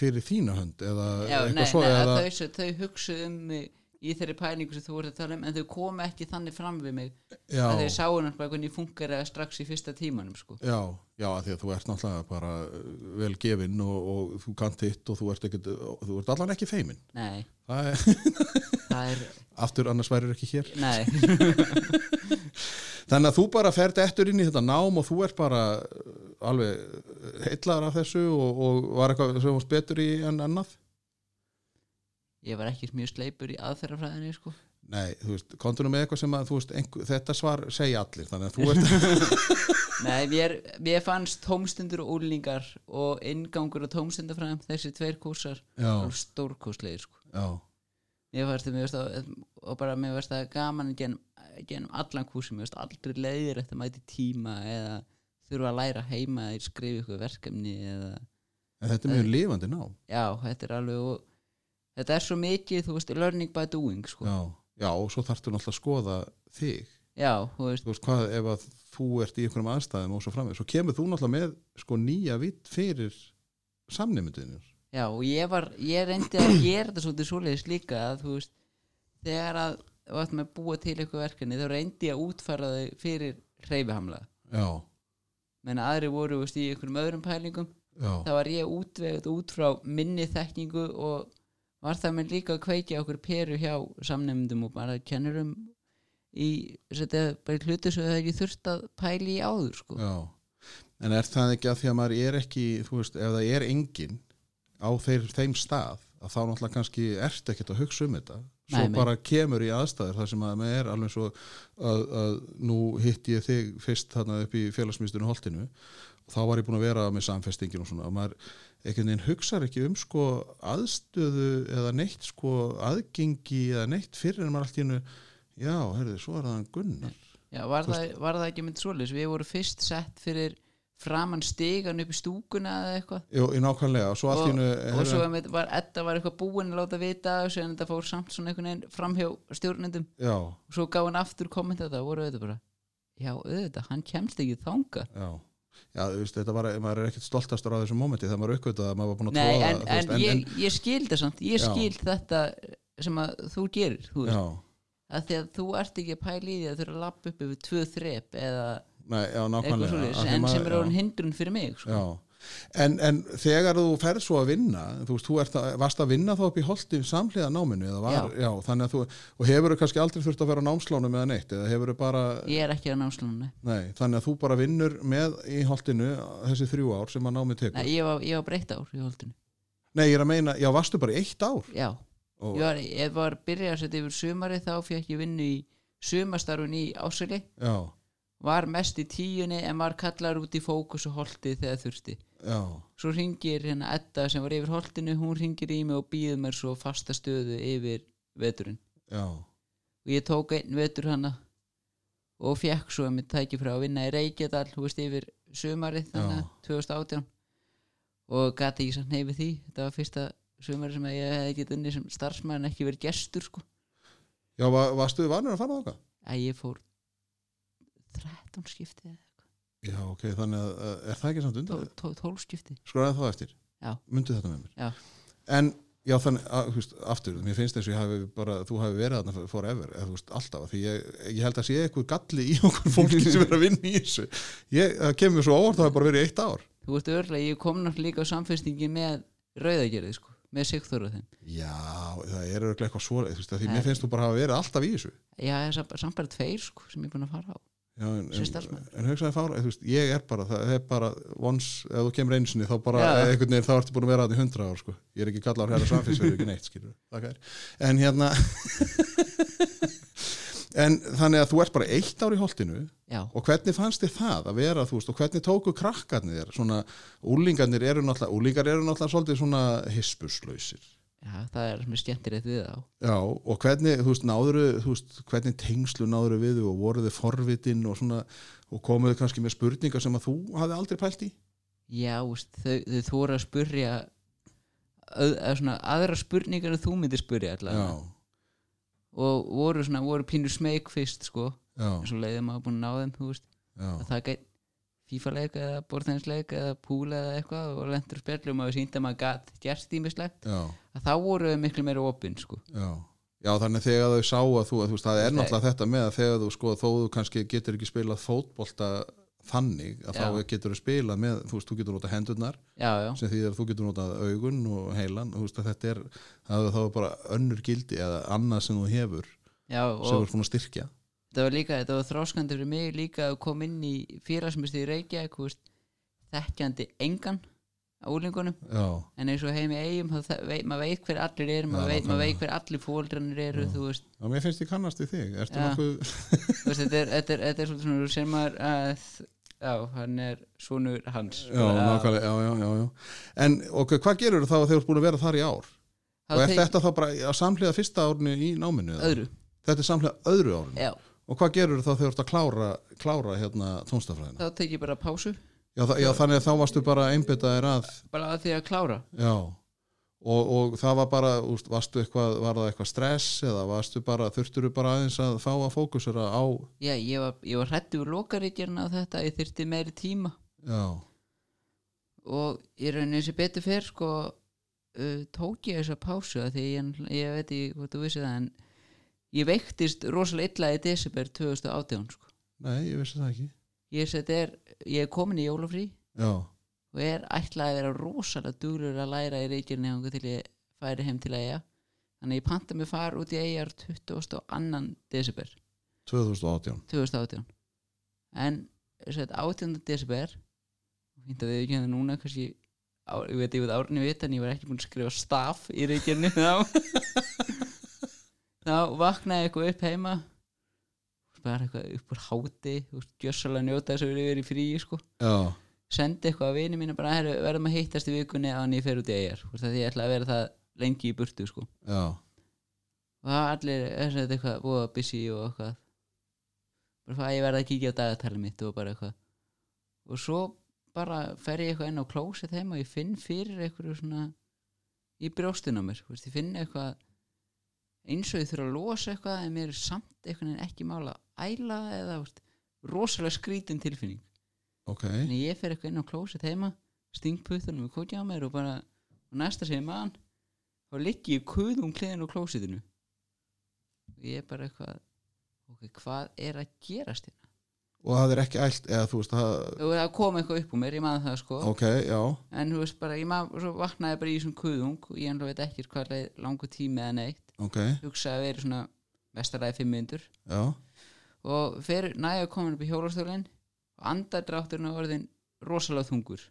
fyrir þína hönd eða Já, nei, eitthvað svo nei, að eða, þau, þau, þau hugsuðu um mig í þeirri pælingu sem þú voru að tala um en þau komu ekki þannig fram við mig að þau já, sáu náttúrulega hvernig ég funkar strax í fyrsta tímanum sko. já, já, af því að þú ert náttúrulega bara uh, vel gefinn og, og þú kannt hitt og þú ert, ekkit, og þú ert allan ekki feiminn nei, Það er- það er aftur annars værir ekki hér nei, þannig að þú bara ferð eftir inn í þetta nám og þú ert bara uh, alveg heillar af þessu og, og var eitthvað sem varst betur í en annað ég var ekki mjög sleipur í aðferðafræðinni sko. Nei, þú veist, kontur nú með eitthvað sem að þú veist, einhver, þetta svar segja allir þannig að þú ert, Nei, mér, mér fannst tómstundur og úlingar og inngangur og tómstundafræðum þessi tveir kúrsar já, stórkúrslegir sko. já, Mér fannst það, mér fannst það og bara mér fannst það gaman genum, genum allan kúrsum, mér fannst aldrei leiðir eftir að mæti tíma eða þurfa að læra heima eða skrifa ykkur verkefni eða, en þetta er mjög lifandi ná já, þetta er alveg og, þetta er svo mikið, þú veist, learning by doing sko. já, já, og svo þarftu náttúrulega að skoða þig, já, þú veist, þú veist, hvað ef að þú ert í einhverjum aðstæðum og svo framveg svo kemur þú náttúrulega með, sko, nýja vitt fyrir samnefndinir Já, og ég var, ég reyndi að gera þetta svolítið svoleiðis líka að þú veist, þegar að þú ættum að búa til eitthvað verkefni þá reyndi ég að útfæra þau fyrir hreyfihamla já, menn aðri voru þú veist, í einhverjum öðrum pælingum já, þá var ég útvegut út frá minni þekkingu og var það með líka að kveikja okkur peru hjá samnefndum og bara kennurum í, þetta, bara í hlutu sem þau hefði ekki þurft að pæli í áður sko. já en er það ekki að því að maður er ekki þú veist, ef það er engin á þeir, þeim stað, að þá náttúrulega kannski ert ekkert að hugsa um þetta svo Nei, nei. bara kemur í aðstæður þar sem að maður er alveg svo að, að nú hitti ég þig fyrst þarna upp í félagsmyndstunum holtinu og þá var ég búin að vera með samfestingin og svona og maður einhvern veginn hugsar ekki um sko aðstöðu eða neitt sko aðgengi eða neitt fyrir en maður allt í hennu já, herðu, svo er það hann Gunnar Já, var það, var það ekki mynd svoleiðis? Við vorum fyrst sett fyrir framan stigan upp í stúkuna eða eitthvað Jú, í nákvæmlega, svo allt í hennu og svo um- einmitt var Edda var eitthvað búin að láta vita af þessu en þetta fór samt svona einhvern veginn framhjá stjórnendum Já, og svo gaf hann aftur kommenta þetta og voru auðvitað bara já auðvitað, hann kemst ekki þanga já Já, þú veist, þetta var, maður er ekkert stoltastur á þessu mómenti þegar maður uppgötaði að maður var búin að Nei, tróða en, þú en, ég, ég skil það samt ég Já. skil þetta sem að þú gerir þú veist, Já, að því að þú ert ekki að pæla í því að þú eru að lappa upp yfir tvö þrep eða nei, já, eitthvað nákvæmlega svoleiðis, Af því en maður- sem er já. orðin hindrun fyrir mig sko. Já, en, en þegar þú ferð svo að vinna, þú veist, þú ert að, varst að vinna þá upp í holdi samhliða náminu eða var, já. þannig að þú, og hefur þú kannski aldrei þurft að vera á námslánum eða neitt, eða hefur þú bara, ég er ekki að námslunni nei, þannig að þú bara vinnur með í holdinu þessi þrjú ár sem að námið tekur. Nei, Nei, ég var, ég var breytt ár í holdinu ég er að meina, já, varstu bara í eitt ár? já, Og, ég var, ég var byrjað að setja yfir sumari þá fekk ég vinnu í sumastarfun í Ásali já, var mest í tíunni en var kallar út í fókus og holdið þegar þurfti já, svo ringir hérna Edda sem var yfir holdinu hún ringir í mig og býður mér svo fasta stöðu yfir veturinn já, og ég tók einn vetur hana og fekk svo að mér tæki frá að vinna í Reykjadal þú veist yfir sumarið Já. þannig að 2018 og gati ekki samt neyfi því þetta var fyrsta sumarið sem að ég hefði getið unni sem starfsmæðin ekki verið gestur sko já, var, varstu vanur að fara þáka? að ég fór 13 skipti Já, ok, þannig að, að- er það ekki samt undan? 12 skipti Skoraði það eftir? Já. Mundu þetta með mér? Já. En, já, þannig, að, þú veist, aftur, mér finnst eins og ég hafi bara, þú hafi verið þarna forever, eða þú veist, alltaf, því ég, ég held að sé eitthvað galli í okkur fólki sem er að vinna í þessu. Ég, það kemur svo óvart, það hefur bara verið í eitt ár. þú veist örlega, ég kom náttúrulega líka á samfestingi með rauðagerði sko, með sigþóra þeim Já, það er örugglega eitthvað svo, þú veist, af því Nei. mér finnst þú bara hafa verið alltaf í þessu. já, það er sam- samt bara tveir sko, sem ég er búin að fara á Já, en, Sem en, starfsmaður. en hugsaði fára, þú veist, ég er bara, það er bara, once, ef þú kemur einsinni, þá bara, Já. einhvern veginn, þá ertu búin að vera þarna í hundra ár, sko. Ég er ekki kallar hér að samfélsverðu, ekki neitt, skilur. Það er. En hérna, en þannig að þú ert bara eitt ár í holtinu já, og hvernig fannst þér það að vera, þú veist, og hvernig tóku krakkarnir þér, svona, úlingarnir eru náttúrulega, úlingar eru náttúrulega svolítið svona hispuslausir. já, það er mér skemmtir eitt við þá Já, og hvernig, þú veist, náðuru, þú veist, hvernig tengslu náðuru við þau og voruð þið forvitin og svona, og komuðu kannski með spurningar sem að þú hafði aldrei pælt í? já, veist, þau, þau þóra að spurja að, að svona, aðra spurningar en þú myndir spurja allavega og voru, svona, voru pínu smeg fyrst sko, já, eins og leiðum að búin að ná þeim þú veist, já, að það gæt FIFA-leik eða borðtænsleik eða púl eða eitthvað og lendur spjallum og sínt að maður gat gerst ímislegt já, að þá voru þau miklu meira opinn sko. já. Já, þannig að þegar þau sá að þú, að þú veist, það er Nei. náttúrulega þetta með að þegar þú, sko, þó þú kannski getur ekki spilað fótbolta þannig að Já. þá getur þú spilað með, þú veist, þú getur notað hendurnar já, já, sem því að þú getur notað augun og heilan, þú veist að þetta er, það er þá bara önnur gildi eða annað sem þú hefur já sem þú og er svona styrkja. þetta var líka, þetta var þráskandi fyrir mig líka að koma inn í félagsmyndstu í Reykjavík þú veist, þekkjandi engan á úlingunum, Já, en eins og heim í eigum þá þe- veit, maður veit hver allir eru maður Já, veit, maður nákvæmlega. veit hver allir fóldranir eru þú veist, Já, mér finnst ég kannast í þig. Ertu Já. nokkuð... þú veist þetta, er, þetta, er, þetta er svolítið svona sem maður að já, hann er sonur hans Já, nákvæmlega, já, já, já, já. En ok, hvað gerur þá að þeir eru búin að vera þar í ár? Þá og er tek- þetta þá bara að samhliða fyrsta árinu í náminu? eða? öðru, Þetta er samhliða öðru árinu. já, Og hvað gerur þá þegar þú ert að klára, klára hérna tónstafræðina? þá tek ég bara pásu Já, þa- já, þannig að þá varstu bara einbyttaðir að, bara að því að klára já. Og, og það var bara, úst, varstu eitthvað, var það eitthvað stress eða varstu bara, þurftur þú bara aðeins að fá að fókusera á, já, ég var, ég var hrættu úr lokaríkjarna á þetta ég þyrfti meiri tíma já, og ég raunin sem betur fer sko uh, tók ég þessa pásu af því ég, ég veit ekki hvort þú vissi það en ég veiktist rosalega illa í desember 2018 sko. nei, ég vissi það ekki. ég, þetta er, ég er komin í jólafrí Já, og er ætlaði að vera rosalega duglur að læra í reykjarni hanga til ég færi heim til eiga þannig ég panta mig far út í eigar 22. desember 2018. 2018 en sett, 18. desember fínt að við ekki hérna núna kannski á, ég veit ég veit árni vita en ég var ekki búin að skrifa staf í reikjarni þá þá vaknaði ég eitthvað upp heima bara eitthvað upp úr háti gjössalega njóta þess að við erum verið í fríi sko Já, sendi eitthvað að vini mínu bara "Heyrðu, við verðum að hittast í vikunni að ég fer út í eigar því ég ætla að vera það lengi í burtu sko já, og það var allir er þetta eitthvað voða busy og eitthvað bara fæ ég verða að kíkja á dagatalið mitt og bara eitthvað og svo bara fer ég eitthvað inn á klósið heima og ég finn fyrir eitthvað svona í brjóstinu á mér, þú veist, ég finn eitthvað eins og ég þurfa að losa eitthvað en mér er samt eitthvað en ekki mála að æla eða þú veist, rosalega skrítin tilfinning ok, en ég fer eitthvað inn á klósið heima sting puttunum í kókja á mér og bara og næsta sem ég man þá liggi ég kuðum kliðin á klósiðinu og ég er bara eitthvað ok, hvað er að gerast hérna og það er ekki ælt eða þú veist, það, og það kom eitthvað upp úr mér, ég man það sko ok, já en þú veist bara, ég maður, svo vaknaði ég bara í þessum kuðung og ég ennlega veit ekki hvað leið langu tími eða neitt, ok, hugsaði að vera svona mestarlega fimm myndur já, og fer næja komin upp í hjólastólinn og andardrátturinn á orðin rosalega þungur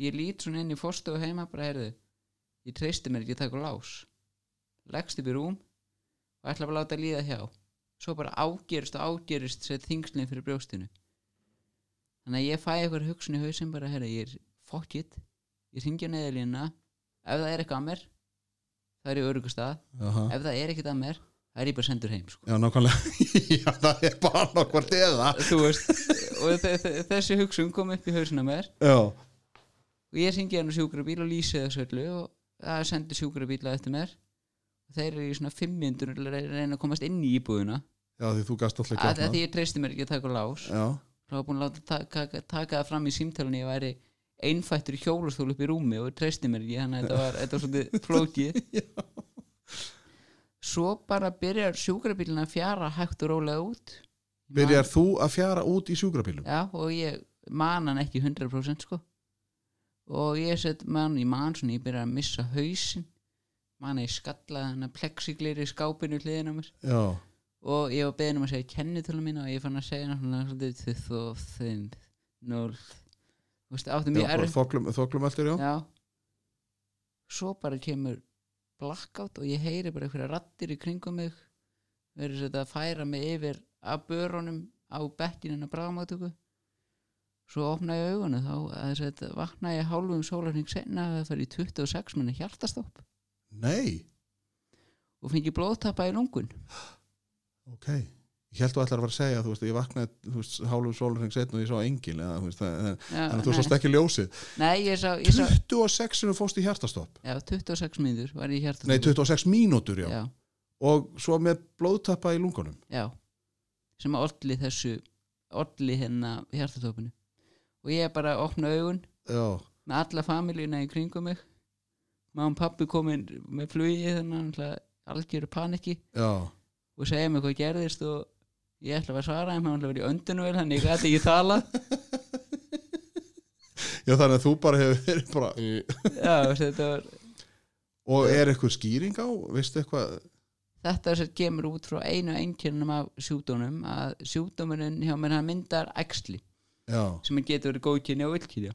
ég lít svona inn í fórstu og heima bara heyrðu, ég treysti mér ekki að taka á lás leggst upp í rúm og ætla bara að láta líða hjá svo bara ágerist og ágerist sér þingslinn fyrir brjóstinu þannig að ég fæ eitthvað hugsun í hausinn bara heyrðu, ég er fuck it ég ringi á neðalína ef það er eitthvað að mér það er í örugustað aha ef það er ekkert að mér það er ég bara sendur heim sko já, nákvæmlega, já, það er bara nokkvart eða, þú veist og þe- þe- þessi hugsun kom upp í hausuna mér já, og ég syngi hann á sjúkrabíl og lýsi þessu öllu og það sendi sjúkrabíla eftir mér og þeir eru í svona fimm myndur að reyna að komast inn í íbúðuna já, því þú gast alltaf að ekki að því ég treysti mér ekki að taka lás já, þá var búin að láta taka, taka- taka það fram í símtælunni ég væri einfættur í hjólastól upp í rúmi og treysti mér ekki þannig að þetta var, þetta var svolítið flókið svo bara byrjar sjúkrabílina að fjara hægt og rólega út byrjar þú að fjara út í sjúkrabílum, Já, og ég man hann ekki 100% sko og ég set man, ég man svona, ég byrja að missa hausinn man að ég skallaði hann að plexiglir í skápinu hliðin á mér já, og ég var beðin um að segja kennitölu mín og ég fann að segja hann svona svolítið þið og þinn, núl þú veist, áttu mjög erfitt þoklum, þoklum já, já svo bara kemur blackout og ég heyri bara einhverja rattir í kringum mig verður þetta að færa mig yfir að börunum á bekkinin að bráðmátöku svo opna ég augunni þá að þetta vakna ég hálfum sólarning senna að það fer í 26 minni hjartastopp nei, og fengi blóðtappa í lungun ok ég held þú ætlar að vera að segja, þú veist, ég vaknaði þú veist, hálfum sólurring setn og ég sá engil eða, þú veist, það, það, já, þannig að þú nei. sást ekki ljósið nei, ég sá, ég sá 26 sinum fórst í hjartastopp já, 26 minnur var ég í nei, hjartastopp 26 mínútur, já. já, og svo með blóðtappa í lungunum já sem að olli þessu olli hérna hjartastoppinu og ég bara opna augun já, með alla familjuna í kringum mig má og pappi komin með flugi þannig að algjöru paniki já, og segja mér hvað gerðist og ég ætla að svara þeim, hann ætla að vera í öndunvel þannig ég gæti ekki tala já þannig að þú bara hefur verið bara Já, þetta, var, og er eitthvað skýring á, veistu eitthvað þetta sem kemur út frá einu einkennum af sjúkdómum að sjúkdómurinn hjá mér hann myndar æxli já, sem getur verið góðkynja og illkynja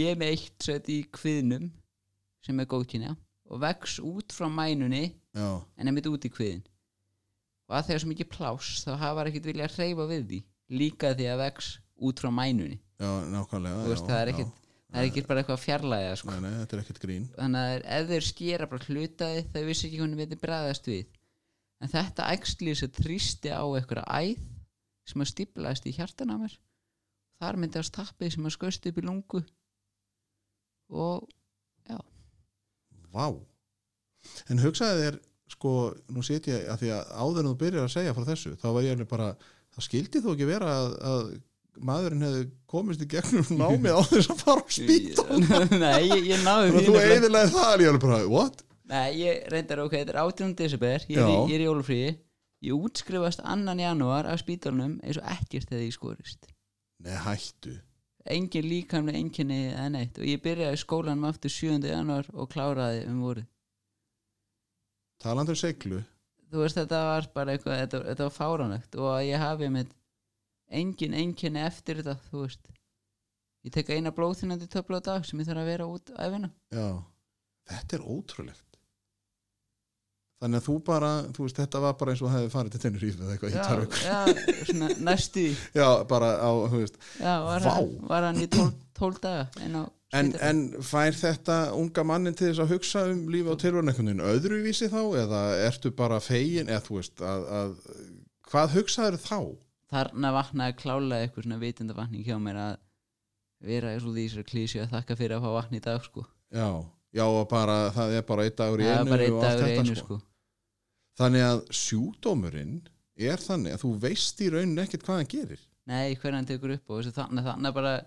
ég er með eitt sett í kviðnum sem er góðkynja og vex út frá mænunni já, en einmitt út í kviðin og að þegar svo mikið pláss þá hafa þær ekkert viljað hreyfa við því líka því að vex út frá mænunni já, nákvæmlega Þú veist, já, það er já. ekkert- það er ekki bara eitthvað fjarlæða sko. nei, nei, þetta er ekkert grín þannig að ef þeir skera bara hlutaði þau vissi ekki hvernig við bræðast við en þetta æxli sem þrýsti á einhverja æð sem að stíplaðist í hjartan á mér þar myndi að stappið sem að skauðst upp í lungu og Vá En hugsaði þér, sko, nú set ég að því að áður en þú byrjar að segja frá þessu þá var ég alveg bara, það skildi þú ekki vera að, að maðurinn hefði komist í gegnum námið á þess að fara á spýta Nei, ég, ég náði Þannig að því þú nefnilega. eiginlega það er ég alveg bara, what? Nei, ég reyndar ok, þetta er 18. desember ég er, Já. í, ég er í ólufríi ég útskrifast 2. janúar af spítalunum eins og ekkert þegar ég skorist Nei, hættu engin líkamlega enginni eða neitt og ég byrjaði skólanum aftur 7. janúar og kláraði um voru Talandur seglu þú veist þetta var bara eitthvað þetta, þetta var fáránlegt og að ég hafi með engin enginni eftir þetta þú veist ég tek eina blóðþynandi töfla á dag sem ég þarf að vera út æfina Já, þetta er ótrúlegt Þannig að þú bara, þú veist, þetta var bara eins og það hefði farið til Tenerife eða eitthvað í já, Tarvík já, svona næstu því. Já, bara á, þú veist já, var, Vá. hann, var hann í 12, 12 daga en á En, spítalanum. en fær þetta unga mannin til þess að hugsa um lífi á tilvörnækundin öðruvísi þá eða ertu bara fegin eða þú veist að, að hvað hugsaður þá? þarna vaknaði klálega eitthvað svona vitundavakning hjá mér að vera svolítið í þessari klísi að þakka fyrir að fá vatn í dag sko já, já og bara, það er bara einn dagur í það einu er bara einn og allt dagur í þetta, einu sko. sko þannig að sjúdómurinn er þannig að þú veist í raunin ekkert hvað hann gerir nei, hvernig hann tekur upp og þessi þannig þannig bara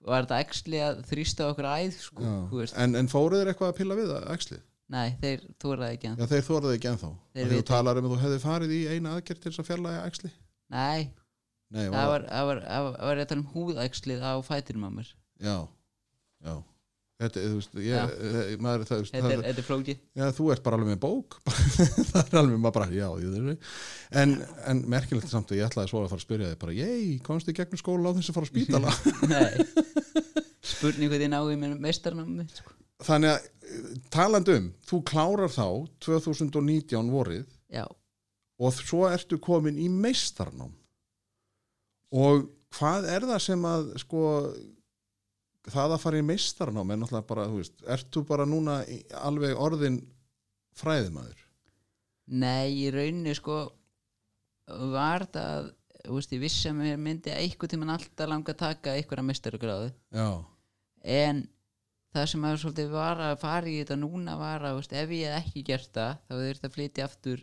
var þetta eksli að þrýsta á okkur æð sko, þú veist, en, en fóruð þeir eitthvað að pilla við það, æxlið? nei, þeir þóraði ekki hann Já, þeir þóraði ekki ennþá Þeir Þegar þú vita. talar um að þú hefði farið í eina aðgerð til þess að fjarlæga æxli nei, Nei, það var, það var, það var, það var ég að tala um húðækslið á fætinum á mér Já, já Þetta, þú veist, ég, Já. eh, maður, það, þú veist, þetta það, er, þetta er flókið já, þú ert bara alveg með bók það er alveg maður bara, já, ég þurfi en, en merkilegt samt að ég ætlaði svo að fara að spyrja þig bara, ég, komst í gegnum skóla á þess að fara að spítala nei spurning hvað þið náðu í mér meistarnámi sko. þannig að eh, talandi um, þú klárar þá 2019 vorið já, og þ- svo ertu komin í meistarnám og hvað er það sem að sko það að fara í meistarnám er náttúrulega bara, þú veist, ertu bara núna í- alveg orðin fræðimaður nei, í rauninni sko var það að, þú veist, ég vissi að mér myndi eitthvað tímann alltaf langa að taka eitthvað meistargráðu já, en það sem að svolítið var að fara í þetta núna var að þú veist, ef ég hef ekki gert það þá þurfti að flytja aftur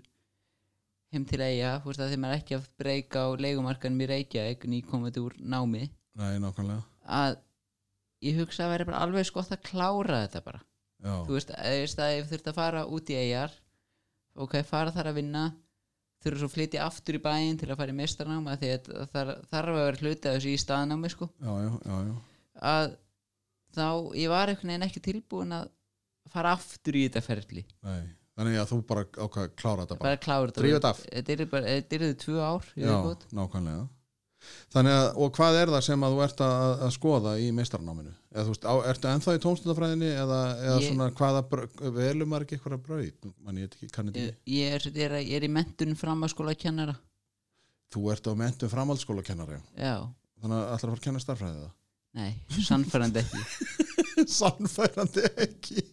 heim til eiga, þú veist að þeim er ekki að breyka á leigumarkanum í Reykjavík nýkomandi úr námi nei, nákvæmlega að ég hugsa að vera bara alveg eins gott að klára þetta bara já, þú veist, að, þú veist að ég þurfti að fara út í eigar ok, fara þar að vinna þurfa svo að flytja aftur í bæinn til að fara í mestarnáma því að það þarf að vera hluti af þessu í staðnámi sko já, já, já, já. að þá ég var einhvern veginn ekki tilbúin að fara aftur í þetta ferli Nei. þannig að þú bara ákvað að klára þetta bara, bara að klára þetta Drífa þetta af. þetta yrði bara- þetta yrði tvö ár í já, viðbót. nákvæmlega þannig að, og hvað er það sem að þú ert að, að skoða í meistarnáminu eða þú veist, á, ertu ennþá í tómstundafræðinni eða, eða Ég- svona hvaða, br- velum maður ekki eitthvað brauð, mann ég veit ekki, kann þetta ekki ég, ég, er, ég, er, ég er í mentun framhanskóla kennara Þú ert á mentum framhaldsskóla kennari já, þannig að ætlar að fara að kenna starfræði það nei, sannfærandi ekki Sannfærandi ekki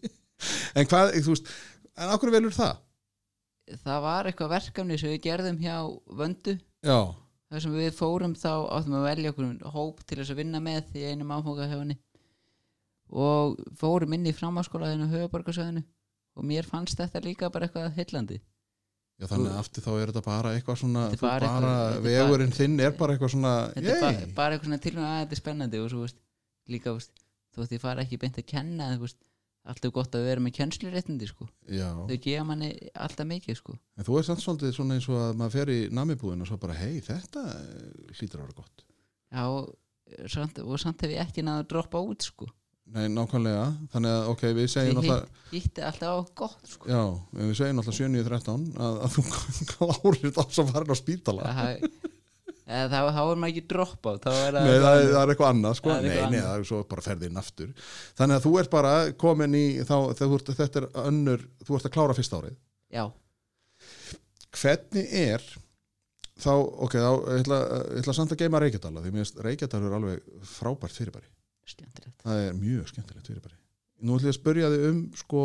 En hvað, þú veist En af hverju velur það? það var eitthvað verkefni sem við gerðum hjá vöndu Já, þar sem við fórum þá áttum að velja okkur hóp til þess að vinna með í einum áfóka hjá henni og fórum inn í framhanskóla þennu höfuborgarsöðinu og mér fannst þetta líka bara eitthvað heillandi já þannig að aftur þá er þetta bara eitthvað svona Þetta er Þú bara bara, eitthvað- þetta er bara- vegurinn þinn er bara eitthvað svona þetta er bara, yey. bara eitthvað svona tilvæm að þetta er spennandi og svo veist, líka veist, þú veist ég fara ekki beint að kenna en, þú veist, alltaf gott að vera með kennsluréttindi sko. Já, þau gefa manni alltaf mikið sko. en þú er samt svolítið svona eins og að maður fer í namibúðin og svo bara, hei, þetta eh, hlýtur að vera gott Já, og, samt, og samt hef ég ekki náðu að droppa út sko. Nei, nákvæmlega, þannig að, ok, við ég segjum náttúrulega hitt, hitti alltaf á gott sko. Já, við segjum náttúrulega 7.13 að, að þú klárir þá svo farin á spítala það, haf- eða þá, þá er maður ekki dropp á þá er Nei, það er, það er eitthvað annað sko. Það er Nei, eitthvað nei, annað. það er svo bara ferðin aftur Þannig að þú ert bara komin í þá, þegar þú ert, þetta er önnur þú ert að klára fyrsta árið já, Hvernig er þá, ok, þá ég ætla, ég ætla samt að geima Reykjadala, því mér finnst Reykjadala er alveg frábært fyrirbæri, skemmtilegt það er mjög skemmtilegt fyrirbæri. Nú ætla ég að spyrja þig um sko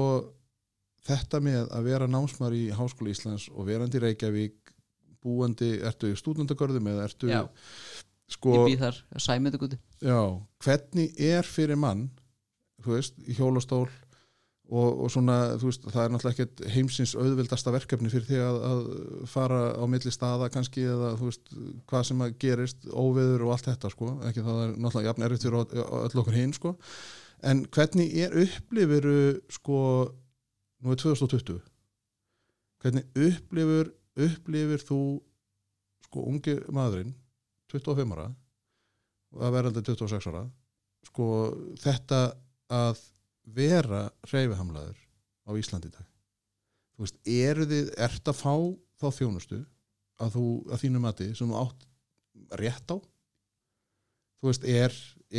þetta með að vera námsmar í Háskóla Íslands og verandi í Reykjavík búandi, ertu í stúdendagörðum eða ertu Já. sko ég býð þar að sæmi þetta guti Já, hvernig er fyrir mann þú veist, í hjólastól og, og svona, þú veist, það er náttúrulega ekkert heimsins auðvildasta verkefni fyrir því að, að fara á milli staða kannski eða, þú veist, hvað sem að gerist óveður og allt þetta, sko ekki það er náttúrulega jafn erfitt fyrir ö- ö- öll okkur hinn, sko en hvernig er upplifuru, sko nú er 2020 hvernig upplifur upplifur þú sko ungi maðurinn 25 ára að vera aldrei 26 ára sko þetta að vera reyfihamlaður á Íslandi í dag þú veist, eru þið, ert að fá þá þjónustu að þú, að þínu mati sem þú átt rétt á þú veist, er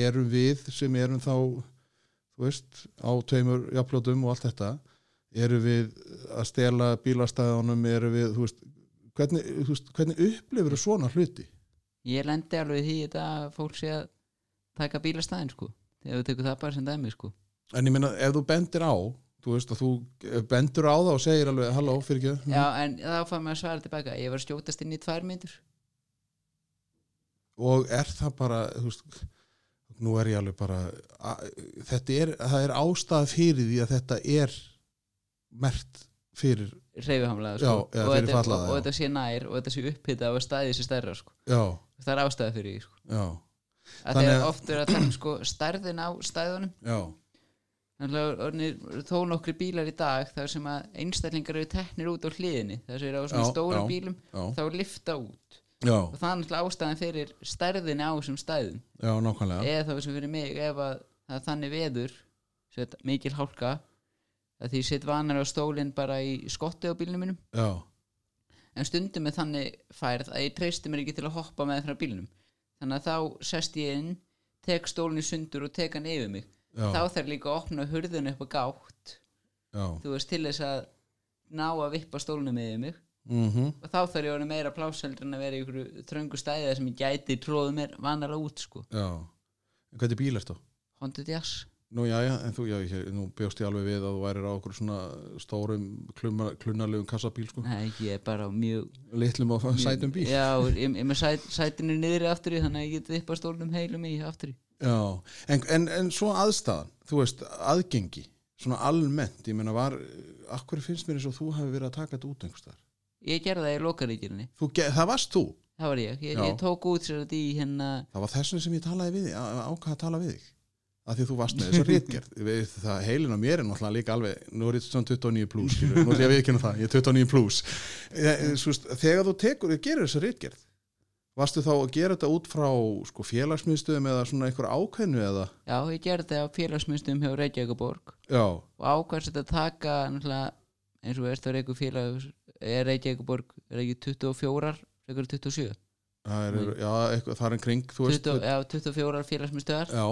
erum við sem erum þá þú veist, á tveimur jafnlótum og allt þetta, eru við að stela bílastæðanum eru við, þú veist, hvernig, þú veist, hvernig upplifur svona hluti ég lendi alveg í því í þetta að fólk sé að taka bílastæðin sko þegar við tekum það bara sem dæmi sko En ég meina, ef þú bendir á þú veist að þú eh, bendur á það og segir alveg, halló, fyrir ekki já en þá fæði maður svara tilbaka ég var að skjótast inn í tvær myndur og er það bara, þú veist nú er ég alveg bara að, þetta er, það er ástæða fyrir því að þetta er mert fyrir, reyfihamlega Já, sko. eða og, fyrir þetta, fatlaða, og, og já. þetta sé nær og þetta sé upphita og staðið sé stærra sko. já, það er ástæða fyrir því sko. já, að Þannig að- Þannig... þegar oft er að tala um, sko, stærðin á stæðunum já, þannig að orðnir þó nokkri bílar í dag þar sem að einstaklingar eru teknir út á hliðinni þar sem eru á svona Já, stórum já. bílum já, þá er lifta út já, og það er náttúrulega ástæðan fyrir stærðin á þessum stæðum já, nákvæmlega, eða þá sem fyrir mig ef að það er þannig veður sem þetta mikil hálka að því ég set vanar á stólinn bara í skotti á bílnum mínum já, en stundum er þannig færð að ég treysti mér ekki til að hoppa með frá bílnum þannig að þá sest ég inn tek stólinn í sundur og tek hann yfir mig já, þá þarf líka að opna hurðinu upp á gátt já, þú veist til þess að ná að vippa stólnum yfir mig mhm, og þá þarf ég að vera meira pláseldur en að vera í ykkur þröngu stæði þar sem ég gæti tróð mér vanalega út sko já, hvernig bíl ertu? Honda Jazz Nú, já, já, en þú, já, ég, nú bjóst ég alveg við að þú værir á okkur svona stórum klumma- klunnalegum kassabíl, sko, Nei, ég er bara á mjög litlum og sætum bíl. Já, ég, ég er með sæt, sætinu niðri aftur í þannig að ég get vippa stólnum heilum í aftur í Já, en, en, en svo aðstæðan, þú veist, aðgengi, svona almennt, ég meina var, akkur finnst mér eins og þú hafi verið að taka þetta út einhvers þar? Ég gerði það í lokaríkjunni Þú, ge- það varst þú, Það var ég, ég, Já. ég tók út sér að því hérna það var þessum sem ég talaði við, þig, á- ákvað að tala við þig, að því að þú varst með þessu rítgerð, við, það heilin á mér er náttúrulega líka alveg, nú er ég svona 29 plus, skilur, nú er ég að viðkynna það, ég er 29 plus, Svist, þegar Eh, þú tekur, gerir þessu rítgerð, varstu þá að gera þetta út frá sko, félagsmiðstöðum eða svona einhver ákveðnu eða, Já, ég gerði það á félagsmyndstum hjá Reykjavíkaborg já, og ákvæmst að taka náttúrulega, eins og veist á Reykjavík félags er Reykjavíkaborg, er ekki 24 Reykjavík 27 það er, já, eitthvað, það er en kring, þú veist, 20, Já, 24 félagsmyndstöðar já,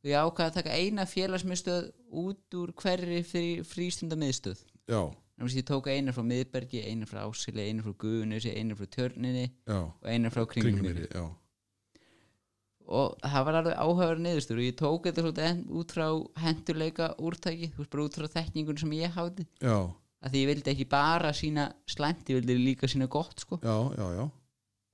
og ég ákvæði að taka eina félagsmyndstöð út úr hverri frístundamiðstöð já, Þannig að ég tók eina frá Miðbergi, eina frá Ásili, eina frá Guðunusi, eina frá Tjörninni já, og eina frá Kringlumýri kringumýri, já, og það var alveg áhæfara niðurstur og ég tók þetta svolítið en- út frá henduleika úrtæki, þú veist bara út frá þekkingun sem ég hafði, já, að því ég vildi ekki bara sína slæmt, ég vildi líka sína gott sko. já, já, já.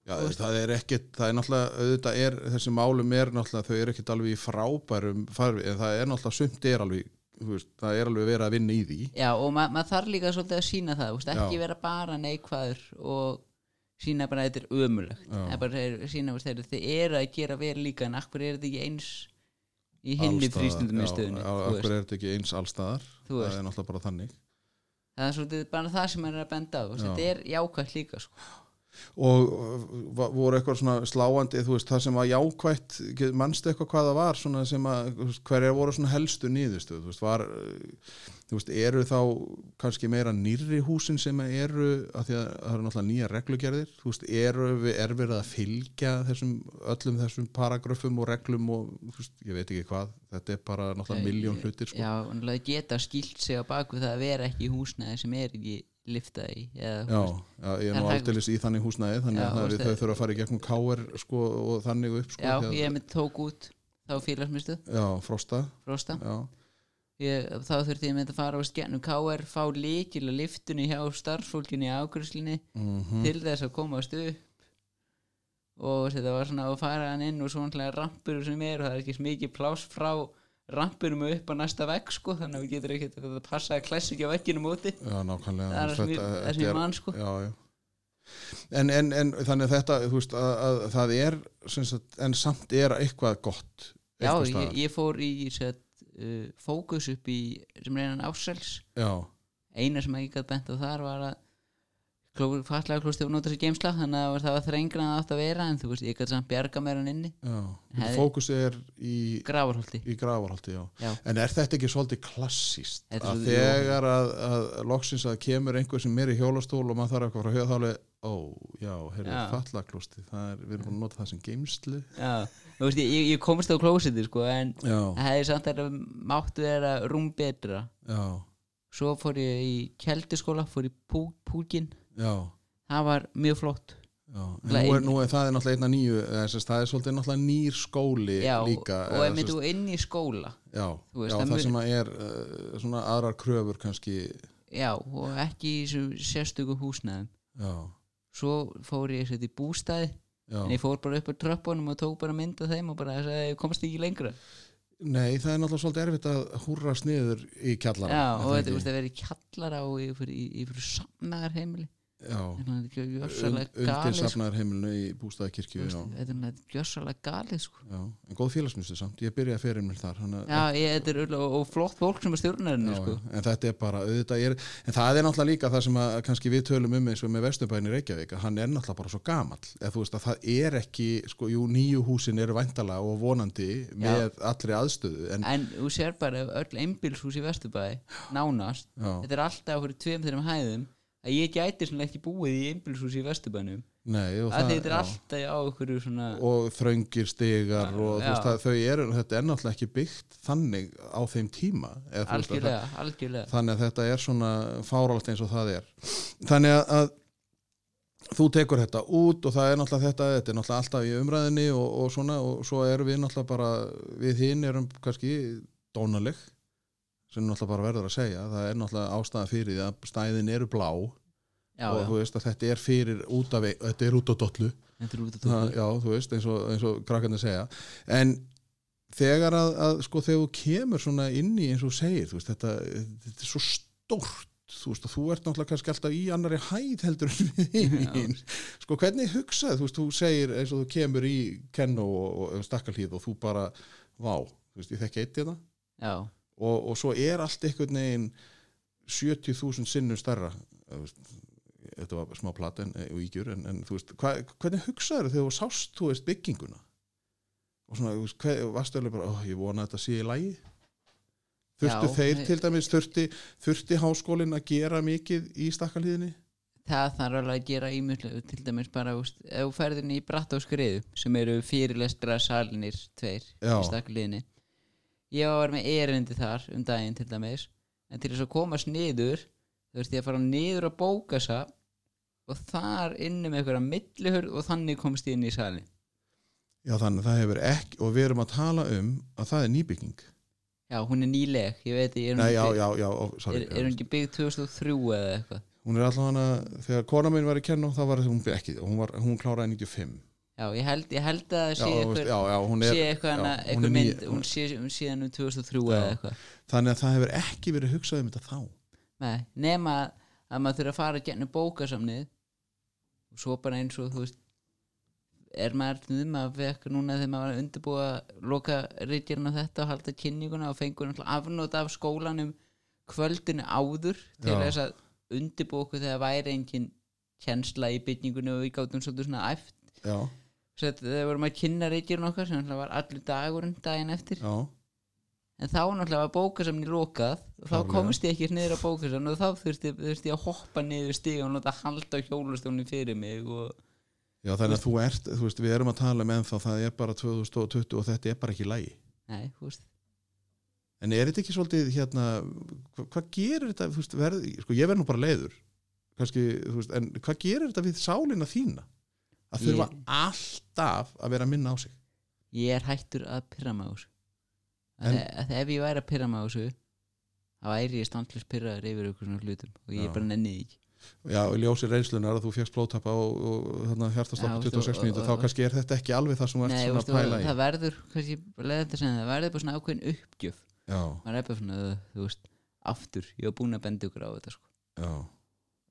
Já, það er ekkit, það er náttúrulega, auðvitað er, þessi málum er náttúrulega, þau eru ekkit alveg í frábærum farfi, en það er náttúrulega, sumt er alveg, þú veist, það er alveg verið að vinna í því. Já, og ma maður þarf líka svolítið að sína það, þú veist, ekki Já. vera bara neikvæður og sína bara að þetta er ömulegt, Já. en bara er, sína þú veist, þeir- þið eru að gera vel líka en akkur er þetta ekki eins í hinni Alls staðar, frístundum í Já, stöðunni já, þú okkur veist. er þetta ekki eins allstaðar, Þú það veist. er náttúrulega bara þannig. það er svolítið bara það sem maður er að benda á þú veist, Já. þetta er jákvætt líka sko. Og uh, va- voru eitthvað svona sláandi, þú veist, það sem var jákvætt, get- manstu eitthvað hvað það var, svona sem að, þú veist, hverjar voru svona helstu nýðustu, þú veist, var, uh, þú veist, eru þá kannski meira nýrri húsin sem eru að því að það eru náttúrulega nýja reglugerðir þú veist, eru, við- er verið að fylgja þessum, öllum þessum paragröfum og reglum og, þú veist, ég veit ekki hvað þetta er bara náttúrulega miljón hlutir sko. Já, náttúrulega geta skilt sig á baku það að vera ekki í húsnaði sem er ekki liftað í eða, já, þú veist, já, ég er Það nú er hægt. aldeilis í þannig húsnæði þannig Já, að það þú er- veist, þau þurfa að fara í gegnum káir sko og þannig upp sko já því að- ég með tók út þá félagsmyndstöð, já, frosta, frosta já, ég, þá þurfti ég með þetta að fara á skennum KR, fá líkil að liftunni hjá starfsfólkinni í ágræslinni mhm til þess að komast upp og þetta var svona að fara hann inn og svona rampur sem er og það er ekki smikið pláss frá rampurum og upp á næsta vegg sko, þannig að við getur ekkert að passa að klessu ekki á vegginum úti Já, nákvæmlega Það er Þú veist, það sem ég- þetta- það sem þetta ég er- man, sko. já, já. En, en, en þannig að þetta þú veist, að, að, það er sem sagt, en samt er eitthvað gott Já, einhvers ég, staðar. ég fór í set, uh, fókus upp í sem reynan ásels já, eina sem ekki gætt bent á þar var að fatlega klústi og nota sér geimsla þannig að það var þrengra en það átt að vera en þú veist, ég gætt samt bjarga mér hann inni já. Hefði- fókus er í, grafarholti í grafarhaldi já. Já. en er þetta ekki svolítið klassíst Þetta er að svolítið- þegar að, að loksins að kemur einhver sem er í hjólastól og maður þarf eitthvað frá höfðáli ó, já, heyrðu, Já. fallaklústi það er, við erum búin að nota það sem geimslu Já, þú veist, ég, ég komst á klósiti sko, en já, það hefði samt að máttu vera rúm betra já, svo fór ég í keldiskóla fór í pú, púkin já það var mjög flott Já, en Náttúrulega nú er, ein- nú er það er náttúrulega einna nýju eða, sess, það er svolítið náttúrulega nýr skóli Já, líka og eða, ef mitt sess, þú inn í skóla já, þú veist, já, það það mun- sem að er uh, svona aðrar kröfur kannski já, og ekki í þessum sérstöku húsnæðum já, svo fór ég sér í bústæði já. en ég fór bara upp á tröppunum og tók bara mynd af þeim og bara sagði, "Ég komst ekki lengra Nei, það er náttúrulega svolítið erfitt að húrrast niður í kjallara já, og þetta er verið kjallara og ég fyrir, í- ég fyrir samnaðar heimili Já, þetta er Und- gjössalega undir galið sko. safnaðarheimilinu í bústæðakirkju já, þetta er náttúrulega gjössalega galið sko. já, en góð félagsmyndstur samt Ég byrjaði að fyrir mér þar hana, já, ég, þetta er örugglega- og flott fólk sem er stjórnarinn sko. en þetta er bara auðvitað er, en það er náttúrulega líka það sem að kannski við tölum um eins og með Vesturbæn í Reykjavík að hann er náttúrulega bara svo gamall eða þú veist að það er ekki, sko, jú, nýju húsin eru væntala og vonandi með allri aðstöðu en, en þú sér bara öll einbílshús í Vesturbæði nánast, já, þetta er alltaf fyrir tveim þeirrum hæðum að ég gæti svona ekki búið í einbílshús í Vesturbænum nei, og, að þetta er já. alltaf á einhverju svona og þröngir stigar og þú Já. veist að þau eru, þetta er náttúrulega ekki byggt þannig á þeim tíma eða, þú veist, að það- algjörlega, algjörlega þannig að þetta er svona fáralt eins og það er þannig að, að þú tekur þetta út og það er náttúrulega þetta þetta er náttúrulega alltaf í umræðinni og, og svona og svo erum við náttúrulega bara við hinn erum kannski dónaleg sem náttúrulega bara verður að segja það er náttúrulega ástæða fyrir því að stæðin eru blá já, og já, þú veist að þetta er fyrir út af þetta er út á dollu þetta er út það, að tóka já, þú veist, eins og, eins og krakkarnir segja en þegar að, að sko, þegar þú kemur svona inn í eins og þú segir, þú veist, þetta, þetta er svo stórt þú veist, og þú ert náttúrulega kannski alltaf í annari hæð heldur en við hinn sko, hvernig hugsaði, þú veist, þú segir eins og þú kemur í kennu og, og, og stakkalíð og þú bara, vá þú veist, ég þekki eitt hérna. í það já, og, og svo er allt einhvern veginn 70.000 sinnum stærra Þú veist, þetta var smá plat en, eh, og ígjur en, en þú veist, hva, hvernig hugsaður þegar þú sást þú veist bygginguna og svona, þú veist, hver, varstu alveg bara, ó, ég vona að þetta sé í lagi þurftu Já, þeir nei. til dæmis þurfti, þurfti háskólin að gera mikið í stakkalíðinni það þarf alveg að gera ímjöldlega til dæmis bara, þú veist, ef þú ferðin í bratt á skriðu sem eru fyrirlestra salinir tveir Já. í stakliðinni ég var með erindi þar um daginn til dæmis en til þess að komast niður þú veist ég að fara niður að bóka og þar inni með einhverja millihörð og þannig komst ég inn í salin já þannig að það hefur ekki og við erum að tala um að það er nýbygging já, hún er nýleg, ég veit, er hún, Nei, já, ekki já, byggð- já, ó, sorry, er, er hún ekki byggð 2003 eða eitthvað hún er allavega þegar kona mín var í kennu þá var hún ekki, hún, var, hún kláraði 95 já, ég held, ég held að það já, sé þú veist, eitthvað já, já, hún er, sé eitthvað já, hana, hún er eitthvað ný- mynd hún sé hún sé hann um 2003 eða Já. eitthvað þannig að það hefur ekki verið hugsað um þetta þá Nei, nema að- að maður þurfa að fara að genna bókasamnið og svo bara eins og þú veist er maður nýðum að vekka núna þegar maður var að undirbúa loka ríkjörn á þetta og halda kynninguna og fengur afnóta af skólanum kvöldinu áður til Já. þess að undirbúa okkur þegar væri engin kjensla í bygningunni og við gátum svolítið svona æft já, Svo þetta- þegar vorum að kynna ríkjörn okkar sem náttúrulega var allur dagurinn daginn eftir já, en þá náttúrulega var bókasamni lokað og þá Klárlega. komst ég ekki niður á bókasamni og þá þurfti, þurfti ég að hoppa niður stíg og nota halda hjólustónu fyrir mig og já, þannig að þú ert þú veist, við erum að tala með þá það er bara 2020 og þetta er bara ekki í lagi nei, þú veist en er þetta ekki svolítið hérna hva, hvað gerir þetta, þú veist, verð, sko ég verð nú bara leiður kannski, þú veist, en hvað gerir þetta við sálina þína að þurfa Ég- alltaf að vera að minna á sig ég er hættur að pyrra mig á þessu En- að, að ef ég væri að pyrra mig á þessu þá væri ég standlis pyrraður yfir ykkur svona hlutum og ég Já. bara nenni því ekki Já, í ljósi reynslunar að þú fjast blótapa og, og þarna hjartastoppi Já, 26 og- mínútur, og- þá og- kannski er þetta ekki alveg það sem þú ert nei, þú svona veist, að pæla í. það verður kannski, leiðandi að segja það verður bara svona ákveðin uppgjöf Já, maður er bara svona, þú veist, aftur ég var búin að benda ykkur á þetta sko. já.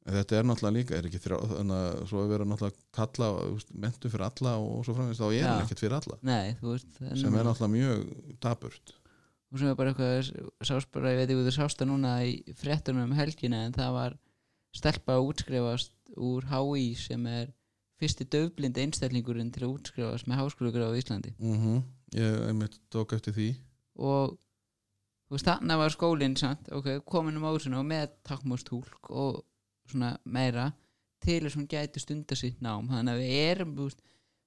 En þetta er náttúrulega líka, er ekki þrjá, þannig að svo er verið náttúrulega að kalla, þú veist, mentu fyrir alla og svo framvegist, þá er Já. hann ekkert fyrir alla. nei, þú veist það Sem er núna- náttúrulega mjög daburt. og sem er bara eitthvað sást bara, ég veit ekki hvað þú sást það núna í fréttunum um helgina en það var stelpa að útskrifast úr HÍ sem er fyrsti döfblind einstællingurinn til að útskrifast með háskólugráð á Íslandi Mm Ég einmitt tók eftir því. og þú veist þannig var skólinn samt, ok, komin um ásina og með takkmálstúlk og svona meira til þess að hún gæti stunda sitt nám þannig að við erum, þú veist,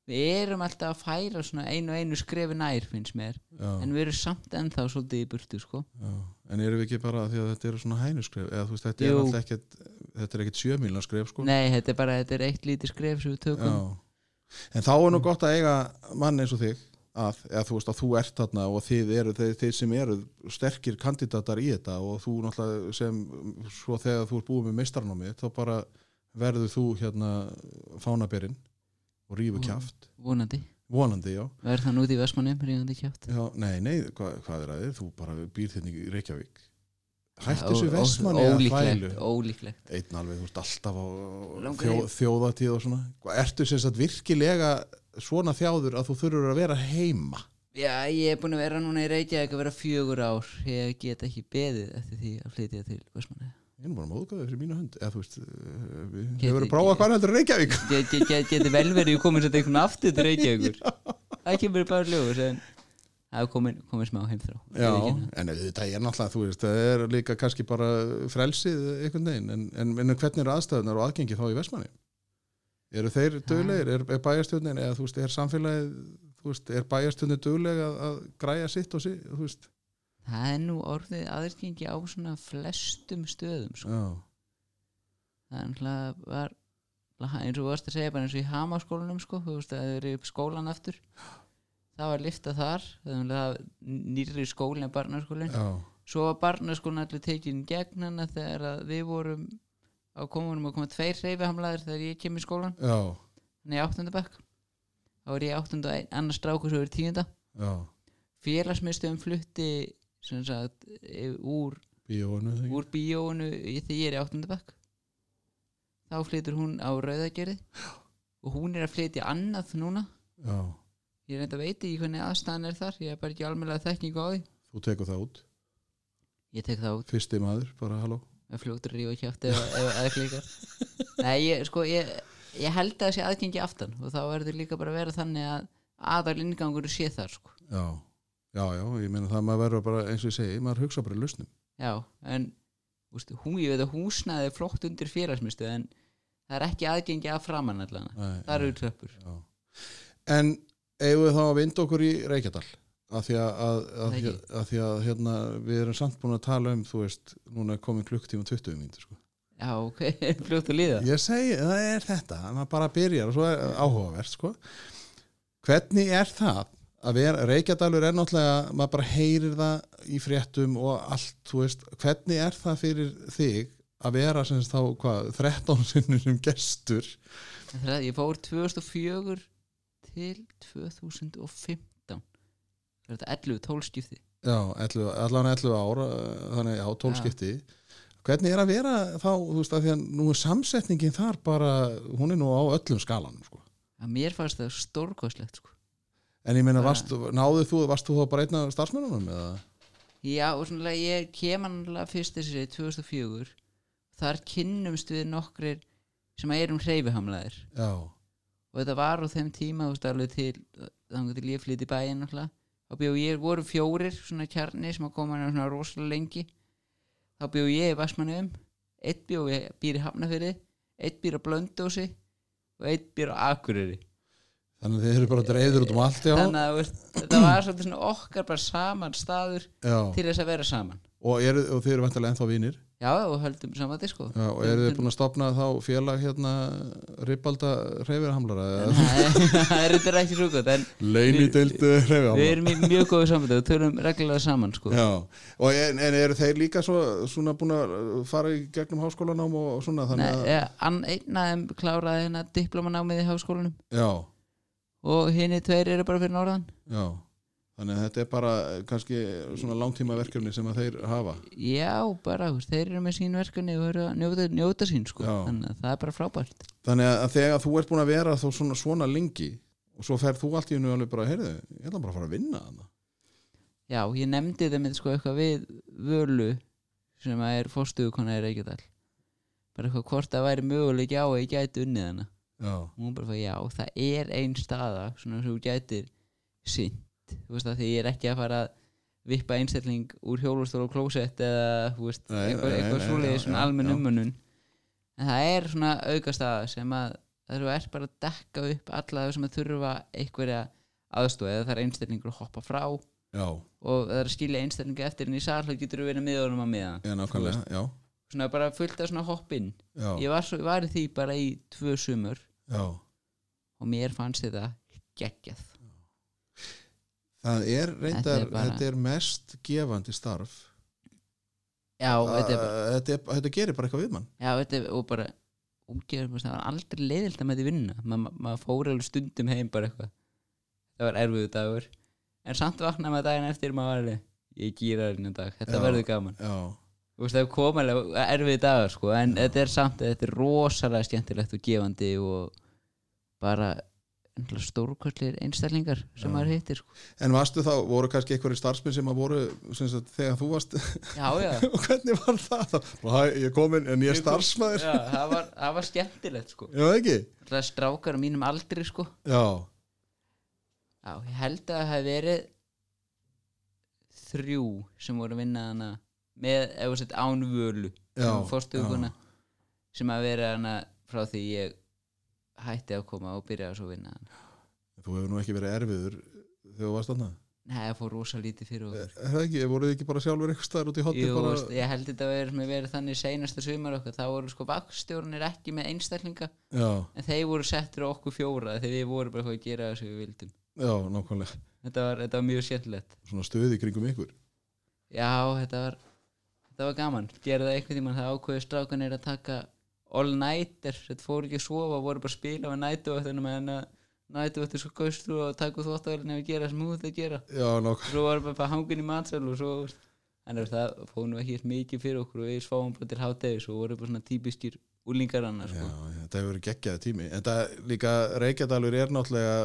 við erum alltaf að færa svona einu og einu skrefi nær finnst mér, Já, en við erum samt ennþá svolítið í burtu sko já. En erum við ekki bara því að þetta eru svona hænuskref, eða þú veist, þetta er Jú. náttúrulega ekkert, þetta er ekkert sjömílnarskref, sko. Nei, þetta er bara þetta er eitt lítið skref sem við tökum Já. En þá er nú gott að eiga mann eins og þig að, eða þú veist að þú ert þarna og þið eru, þeir, þeir sem eru sterkir kandidatar í þetta og þú náttúrulega sem, svo þegar þú ert búið með meistarnámið, þá bara verður þú hérna fánaberinn og rífu Mm. kjaft vonandi vonandi, já, verð þann út í Vestmannum, ríðandi kjátt já nei, nei, hvað, hvað er að þér þú bara býr þérna í Reykjavík hættu þessu vestmanni að þvælu ólíklegt, ólíklegt einn alveg, þú veist, alltaf á á Langar þjó, heim. þjóðatíð og svona Hvað, ertu sem sagt virkilega svona þjáður að þú þurfur að vera heima já, ég er búin að vera núna í Reykjavík að vera fjögur ár ég get ekki beðið eftir því að flytja til Vestmannu ég er nú bara móðgæðið fyrir mínu hönd eða þú veist, eh, við Geti- hefur að prófa hvað heldur Reykjavík get, get, get, geti vel verið ég komin þetta einhvern aftur til Reykjavíkur það kemur bara ljóður en það er komin, komin smá heimþrá Já, en þetta er náttviðlega, þú veist, það er líka kannski bara frelsið einhvern veginn, en, en, en hvernig eru aðstæðunar og aðgengi þá í Vestmanni? Eru þeir duglegir, er, er bæjarstjórnin eða þú veist, er samfélagið, þú veist, er bæjarstjórnin dugleg að, að græja sitt og sitt, þú veist? það er nú orðið aðgengi á svona flestum stöðum sko. Já, það er náttúrulega var náttúrulega eins og þú varst að segja bara eins og í hamaskólanum sko, þú veist að það eru upp skólan aftur það var lifta þar það er náttúrulega nýrri skólin en barnaskólin já, svo var barnaskólin allir tekin í gegn hana þegar að við vorum á komunum að koma tveir reyfihamlaðir þegar ég kem í skólan já, þannig áttundabæk þá er ég áttund og ein, annars strákur svo er tíunda já, félagsmiðstöðum flutti sem sagt eh, úr bíónu, þegar, úr bíóinu í- þegar ég er í áttundabæk þá flytur hún á rauðagerði og hún er að flytja annað núna já, ég reynda veit ekki hvernig aðstæðan er þar ég er bara ekki almennlega þekkingu á því þú tekur það út, ég tek það út fyrsti maður, bara halló, með fljótur ríu og kjátt ef ef- ef það klikkar nei, ég, sko, ég, ég held að það sé aðgengi aftan og þá verður líka bara að vera þannig að aðal inngangur sé þar sko. já, já, já, ég meina það maður verður bara, eins og ég segi, maður hugsa bara í lausnum, já, en úst, hún, ég veit að húsnaði er flott undir félagsmiðstöð en það er ekki aðgengi að framann allan Nei, það eru tröppur Já. En eigum við þá að vinda okkur í Reykjadal að því að, að, að, Nei, því að, að, því að hérna, við erum samt búin að tala um þú veist, núna er komin klukktíma 20 mínútur sko. já, ok, fljótt að líða ég segi, það er þetta maður bara byrjar og svo er áhugavert sko. hvernig er það að vera, Reykjadalur er náttúrulega maður bara heyrir það í fréttum og allt, þú veist, hvernig er það fyrir þig að vera sem sagt þá, hvað, 13 sinnum sem gestur Það er- Ég fór 2004 til 2015 Það er þetta 11, 12 skipti Já, 11, allan 11 ára þannig já, 12 Já. skipti hvernig er að vera þá, þú veist að því að nú er samsetningin þar bara hún er nú á öllum skalanum sko. að Mér fannst það stórkostlegt sko. en ég meina, Það- varst, náðu þú varst þú þá bara einn af starfsmennunum eða? Já, og svona ég kem annarlega fyrst þessi 2004 Þar kynnumst við nokkrir sem að erum hreyfihamlaðir Já, og þetta var á þeim tíma þú veist, alveg til, þannig til ég flytti í bæinn náttúrulega. þá bjó ég, voru fjórir svona kjarni sem að koma hann svona rosalega lengi þá bjó ég í Vassmannum eitt bjó ég býr í Hafnafyrði eitt býr á Blöndósi og eitt býr á Akureyri þannig að þið eru bara dreifður út um allt já, þannig að þú veist, þetta var svolítið svona okkar bara saman staður já. til þess að vera saman Og, er, og þið eru vantilega ennþá vinir já og höldum sko. saman disko já, og eru þið búin að stopna þá félag hérna ripalda reyfirhamlara En það er- það er þetta ekki svo gott en leinideildu við reyfirhamlara erum í mjög góðu samvættu og tölum reglulega saman sko. Já, og en, en eru þeir líka svo, svona búin að fara í gegnum háskólanám og, og svona þannig að Nei, ja, ann- einn af þeim kláraði hérna diplomanámið í háskólanum Já, og hinni tveir eru bara fyrir norðan já Þannig að þetta er bara eh, kannski svona langtíma verkefni sem að þeir hafa já, bara, þú veist, þeir eru með sín verkefni og eru að njóta, njóta sín sko. Já. þannig að það er bara frábært Þannig að þegar þú ert búin að vera þá svona, svona lengi og svo ferð þú allt í hennu alveg bara, heyrðu, ég ætla bara að fara að vinna hana. já, ég nefndi þeim sko, eitthvað við völu sem að er fórstuðukona í Reykjadal bara eitthvað hvort það væri möguleik á að ég gæti unnið hana Já, og hún bara fyrir já, það er ein staða svona sem þú gætir sínt þú veist að því ég er ekki að fara að vippa einstelling úr hjólustól og klósett eða þú veist, Nei, eitthvað, nei, eitthvað nei, svoleiðis já, svona já, almenn já. umönnun en það er svona auka staða sem að það eru er bara að dekka upp alla þau sem að þurfa einhverja aðstóð eða það er einstellingur að hoppa frá og já, það er að skilja einstellingu eftir en í sal og getur þú verið miðunum að miða já, nákvæmlega, já, svona bara fullt af svona hoppinn já, ég var, svo, var í því bara í tvö sumur já. og mér fannst þetta geggjað Það er reyndar, Þetta þetta er er, bara- mest gefandi starf já, Að- þetta er bara, þetta, er, þetta gerir bara eitthvað við mann já, þetta er og bara ógeður, það var aldrei leiðilt að maður þið vinna Ma- ma- maður fór alveg stundum heim bara eitthvað það var erfiðu dagur en samt vaknaði maður daginn eftir maður var alveg, ég gýra hérna dag, þetta Já. verður gaman já, Þú veist, það er komalega erfiði dagar sko, en þetta er samt, þetta er rosalega skemmtilegt og gefandi og bara stórkostlir einstællingar Já. sem maður hittir sko. en varstu þá, voru kannski einhverju starfsmenn sem að voru, sem sagt, þegar þú varst Já, já, og hvernig var það þá? Bara, hæ, ég er komin en ég er starfsmæður já það, var, það var skemmtilegt sko. já, ekki? Það er strákar á mínum aldri sko. já, Já, ég held að það hef verið þrjú sem voru að vinna hana með, ef þú sett, ánvölu já, sem fórstuguna um sem að vera hana frá því ég hætti að koma og byrja að svo vinna hana já. þú hefur nú ekki verið erfiður þegar þú varst annað Nei, það fór rosa lítið fyrir okkur er það ekki, voruð þið ekki bara sjálfur einhvers staðar út í hotni Jú, Eh, bara, veist, ég held þetta að vera með verið þannig seinasta sumar okkar, þá voru sko vaktstjórnir ekki með einstaklinga, já, en þeir voru settur á okkur fjóra þegar við vorum bara hvað að gera það sem við vildum já, nákvæmlega þetta var, þetta var mjög skemmtilegt svona stöði kringum ykkur já, þetta var, þetta var gaman gera það einhvern tímann, það ákveðu strákunir að taka all-nighter, þetta fóru ekki að sofa voru bara að spila við nætuvöktunum en að nætuvöktu sko gaustu og taka þvóttavælinu og gera það sem þú út að gera já, nákvæmlega, svo var bara hangin í matsal og svo en það fóð nú ekki eins mikið fyrir okkur og við sváum bara til hátegi svo voru bara svona típiskir úlingar annars já, sko. já, þetta hefur verið geggjaði tími en það líka, Reykjadalur er náttúrulega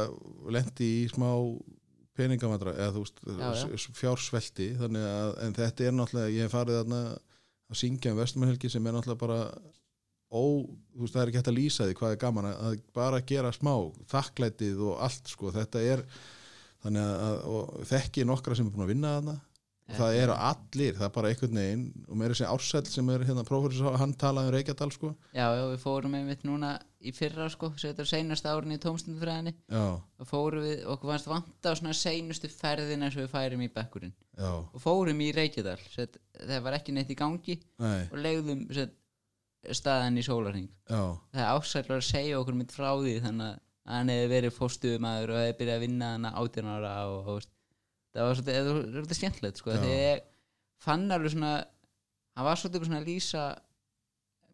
lendi í smá peningamandra, eða þú Já, já. veist fjársvelti, þannig að en þetta er náttúrulega, ég hef farið þarna að syngja um vestumhelgi sem er náttúrulega bara ó, þú veist, það er ekki hægt að lýsa því hvað er gaman að, að bara gera smá þakklætið og allt, sko, þetta er þannig að, að og þekki nokkra sem er búin að vinna þarna og það eru allir, það er bara einhvern veginn og meira þessi ársæll sem er hérna prófessor, hann talaði um Reykjadal, sko já, já, við fórum einmitt núna í fyrra sko, sem þetta er seinasta árin í tómstundfræðinni já, og fórum við, okkur fannst vanta á svona seinustu ferðina sem við færum í bekkurinn já, og fórum í Reykjadal sem sagt, það var ekki neitt í gangi nei, og legðum sem sagt, staðan í sólarhing já það er ásætlar að segja okkur mitt frá því þannig að hann hefði verið fóstuðumæður og hefði byrjað að vinna hann átján ára og, og veist, það var svolítið, það var svolítið skemmtilegt sko, Já. þegar ég fann alveg svona hann var svolítið svona að lýsa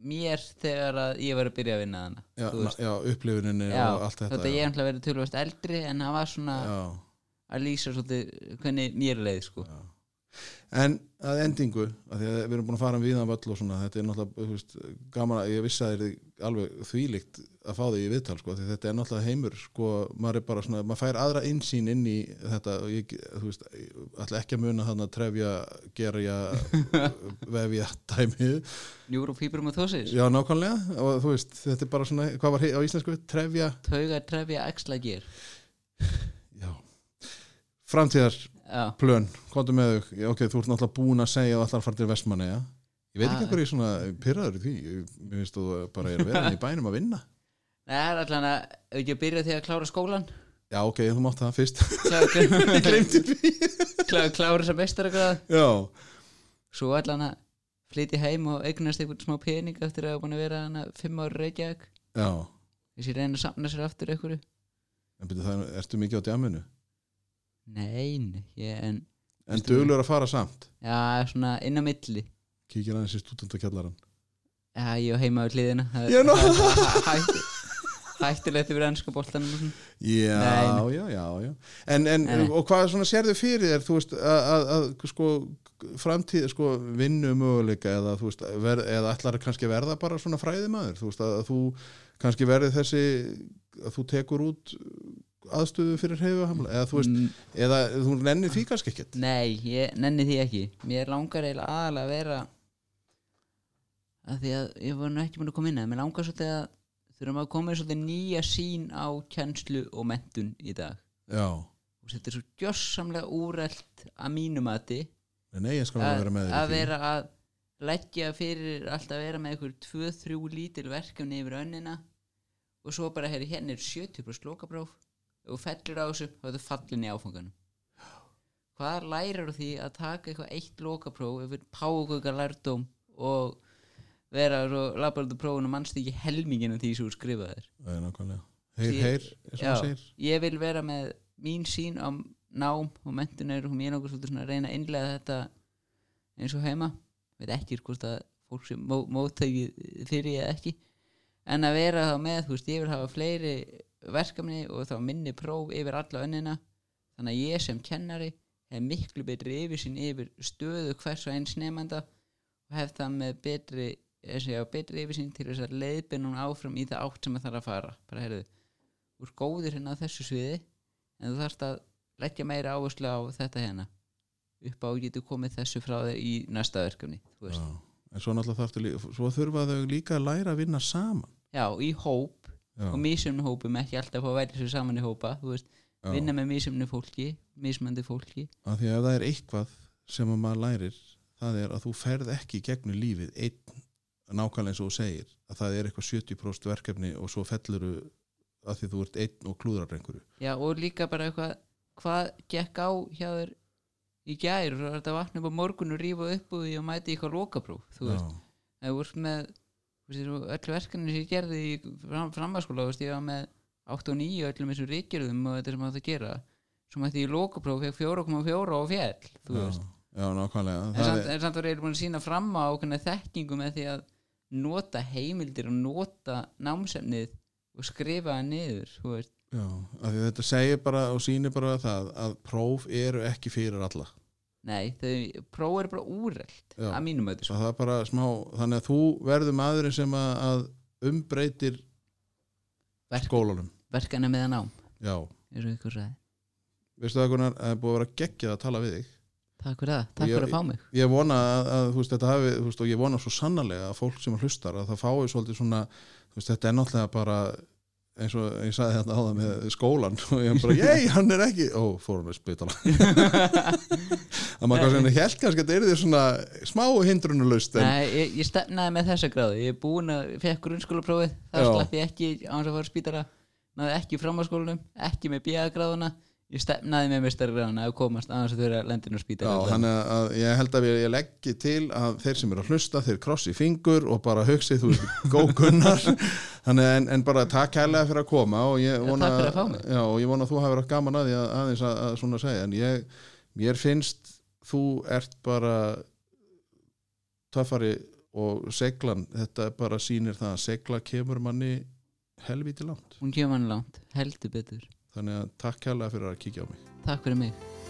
mér þegar að ég var að byrja að vinna hann já, þú veist. já upplifuninni og allt þetta, þetta ég hef verið tölvast eldri en hann var svona já, já, að lýsa svolítið hvernig mér leið sko. já. En að endingu, að því að við erum búin að fara um viðan völl og svona, þetta er náttúrulega þú veist, gaman að ég vissi að það er alveg þvílíkt að fá því í viðtal, sko, því þetta er náttúrulega heimur, sko, maður er bara svona, maður fær aðra innsýn inn í þetta og ég, þú veist, ég ætla ekki að muna þannig að trefja, gerja, vefja dæmið, Neurofibroma þósis já, nákvæmlega, og þú veist, þetta er bara svona, hvað var hei- á íslensku, trefja, tauga trefja axla ger já, framtíðar já, plön, komdu með þau Já, ok, þú ert náttúrulega búin að segja að allar fara til Vestmanni ja? ég veit ekki Ah. af hverju ég er svona pyrraður í því, ég mér finnst þú bara er að vera hérna í bænum að vinna Nei, það er allan að ef ekki að byrja því að klára skólan já ok, þú mátt það fyrst klára, ég glemti því klára, klára þess að mestaragráð já, svo allan að flytja heim og eignast einhvern smá pening eftir að hafa búin að vera hana fimm ára reykjag já, þessi reyna að samna sér aftur einhverju en byrju það, ertu mikið á djáminu nein, ég en en Veistu dölur að fara samt, já, svona inn á milli kíkir aðeins í stúdentakjallaran já, ég var heima á hliðina það, Ég er nú- það, það, það, hættu, hættulegt yfir ennska boltanum og svona. já, Nei. já, já, já en, en, Nei, nei. og hvað svona sérðu fyrir þér þú veist, að, að, að sko framtíð, sko, vinnu möguleika eða, þú veist, ver, eða ætlar kannski að verða bara svona fræðimaður, þú veist, að, að þú kannski verði þessi að þú tekur út aðstöðu fyrir heifuhamla, eða þú veist Mm, eða þú nennir því kannski ekkert nei, ég nenni því ekki mér langar eiginlega aðalega að vera að því að ég var nú ekki búin að koma inn að mér langar svolítið að þurfum að koma í svolítið nýja sín á kjenslu og mentun í dag já, og þetta er svo gjörsamlega úrælt að mínu mati en nei, ég skal að að vera með þér í að því. vera að leggja fyrir alltaf að vera með einhver 2-3 lítil verkefni yfir önnina og svo bara heyri hérna er 70% lokapróf og fellur á þessu þá er þetta fallin í áfanganum hvað lærar því að taka eitthvað eitt lokapróf yfir pákuka lærdóm og vera svo labbældu prófun og mannst ekki helmingin af því sem þú skrifaðir Það er nákvæmlega. heyr, Því- heyr, eins og Já, maður segir ég vil vera með mín sín á nám og mentunir og mér nokkuð svolítið svona að reyna að innlega þetta eins og heima veit ekki hvort að fólk sem mó, móttæki fyrir eða ekki en að vera þá með, þú veist, ég vil hafa fleiri verkefni og þá minni próf yfir alla önnina þannig að ég sem kennari hef miklu betri yfirsýn yfir stöðu hvers og eins nefnda og hef það með betri eins og ég á betri yfirsýn til þess að leiðbyrnum áfram í það átt sem það þarf að fara bara heyrðu, þú ert góður hérna á þessu sviði en þú þarft að leggja meira áherslu á þetta hérna upp á að getur komið þessu frá þér í næsta verkefni, þú veist Já. en svo náttúrulega þarftu líka svo þurfa þau líka að læra að vinna saman já, í hóp já, og mísumni hópum ekki alltaf að velja sér saman í hópa þú veist, já. vinna með mísumni fólki mísmöndi fólki af því að ef það er eitthvað sem að maður lærir það er að þú ferð ekki í gegnum lífið einn nákvæmlega eins og þú segir að það er eitthvað 70% verkefni og svo felluru að því þú ert einn og klúðrar einhverju já, og líka bara eitthvað hvað gekk á hjá þér í gær og þetta vatna upp á morgun og rífa upp úr því og mæti eitthvað lokapróf þú veist, ef þú ert með þú veist, og öll verkefni sem ég gerði í fram, framhanskóla, þú veist, ég var með 8 og 9 og öllum þessum ríkjörðum og þetta sem átt að gera svo mætti ég í lokapróf fekk 4,4 á fjall þú já, veist já, nákvæmlega en Það samt, en samt var eiginlega búin að sína fram á okkurna þekkingu með því að nota heimildir og nota námsefnið og skrifa það niður þú veist. Já, af því þetta segir bara og sýnir bara það að próf eru ekki fyrir alla nei, þau próf er bara úrelt Já. að sko. mínum öður Svo það er bara smá, þannig að þú verður maðurinn sem að, að umbreytir Verk- skólanum verkana með að nám, Já, eins og ykkur sagði veistu það Gunnar, það er búið að vera geggjað að tala við þig takk fyrir það, takk ég- fyrir að fá mig Ég vona að, að þú veist, þetta hafi, þú veist, og ég vona svo sannarlega að fólk sem hlustar að það fái svolítið svona, þú veist, þetta er náttúrulega bara eins og ég sagði þetta áðan með skólan og ég bara, jei, hann er ekki ó, fór hann að spytala að maður kannski henni held kannski að þetta er því svona smá hindrunulust en, nei, ég, ég stefnaði með þessa gráðu ég er búin að, fekk grunnskóla prófið það Já. slapp ég ekki á hans að fara á spítara náði ekki fram á skólanum, ekki með bíða gráðuna ég stefnaði með mestari gráðuna að komast á hans að þau eru að lendinu já, spítara þannig að- að ég held að ég leggi til að þeir sem eru að hlusta, þeir krossi fingur og bara hugsi, þú veist, gókunnar þannig að- en, en bara takk kærlega fyrir að koma og ég vona takk fyrir að fá mig. já, og ég vona að þú hafir átt gaman að því að, aðeins að, að svona segja, en ég mér finnst þú ert bara töffari og seglan, þetta bara sýnir það að segla kemur manni helvíti langt hún kemur hann langt, heldur betur þannig að takk kærlega fyrir að kíkja á mig takk fyrir mig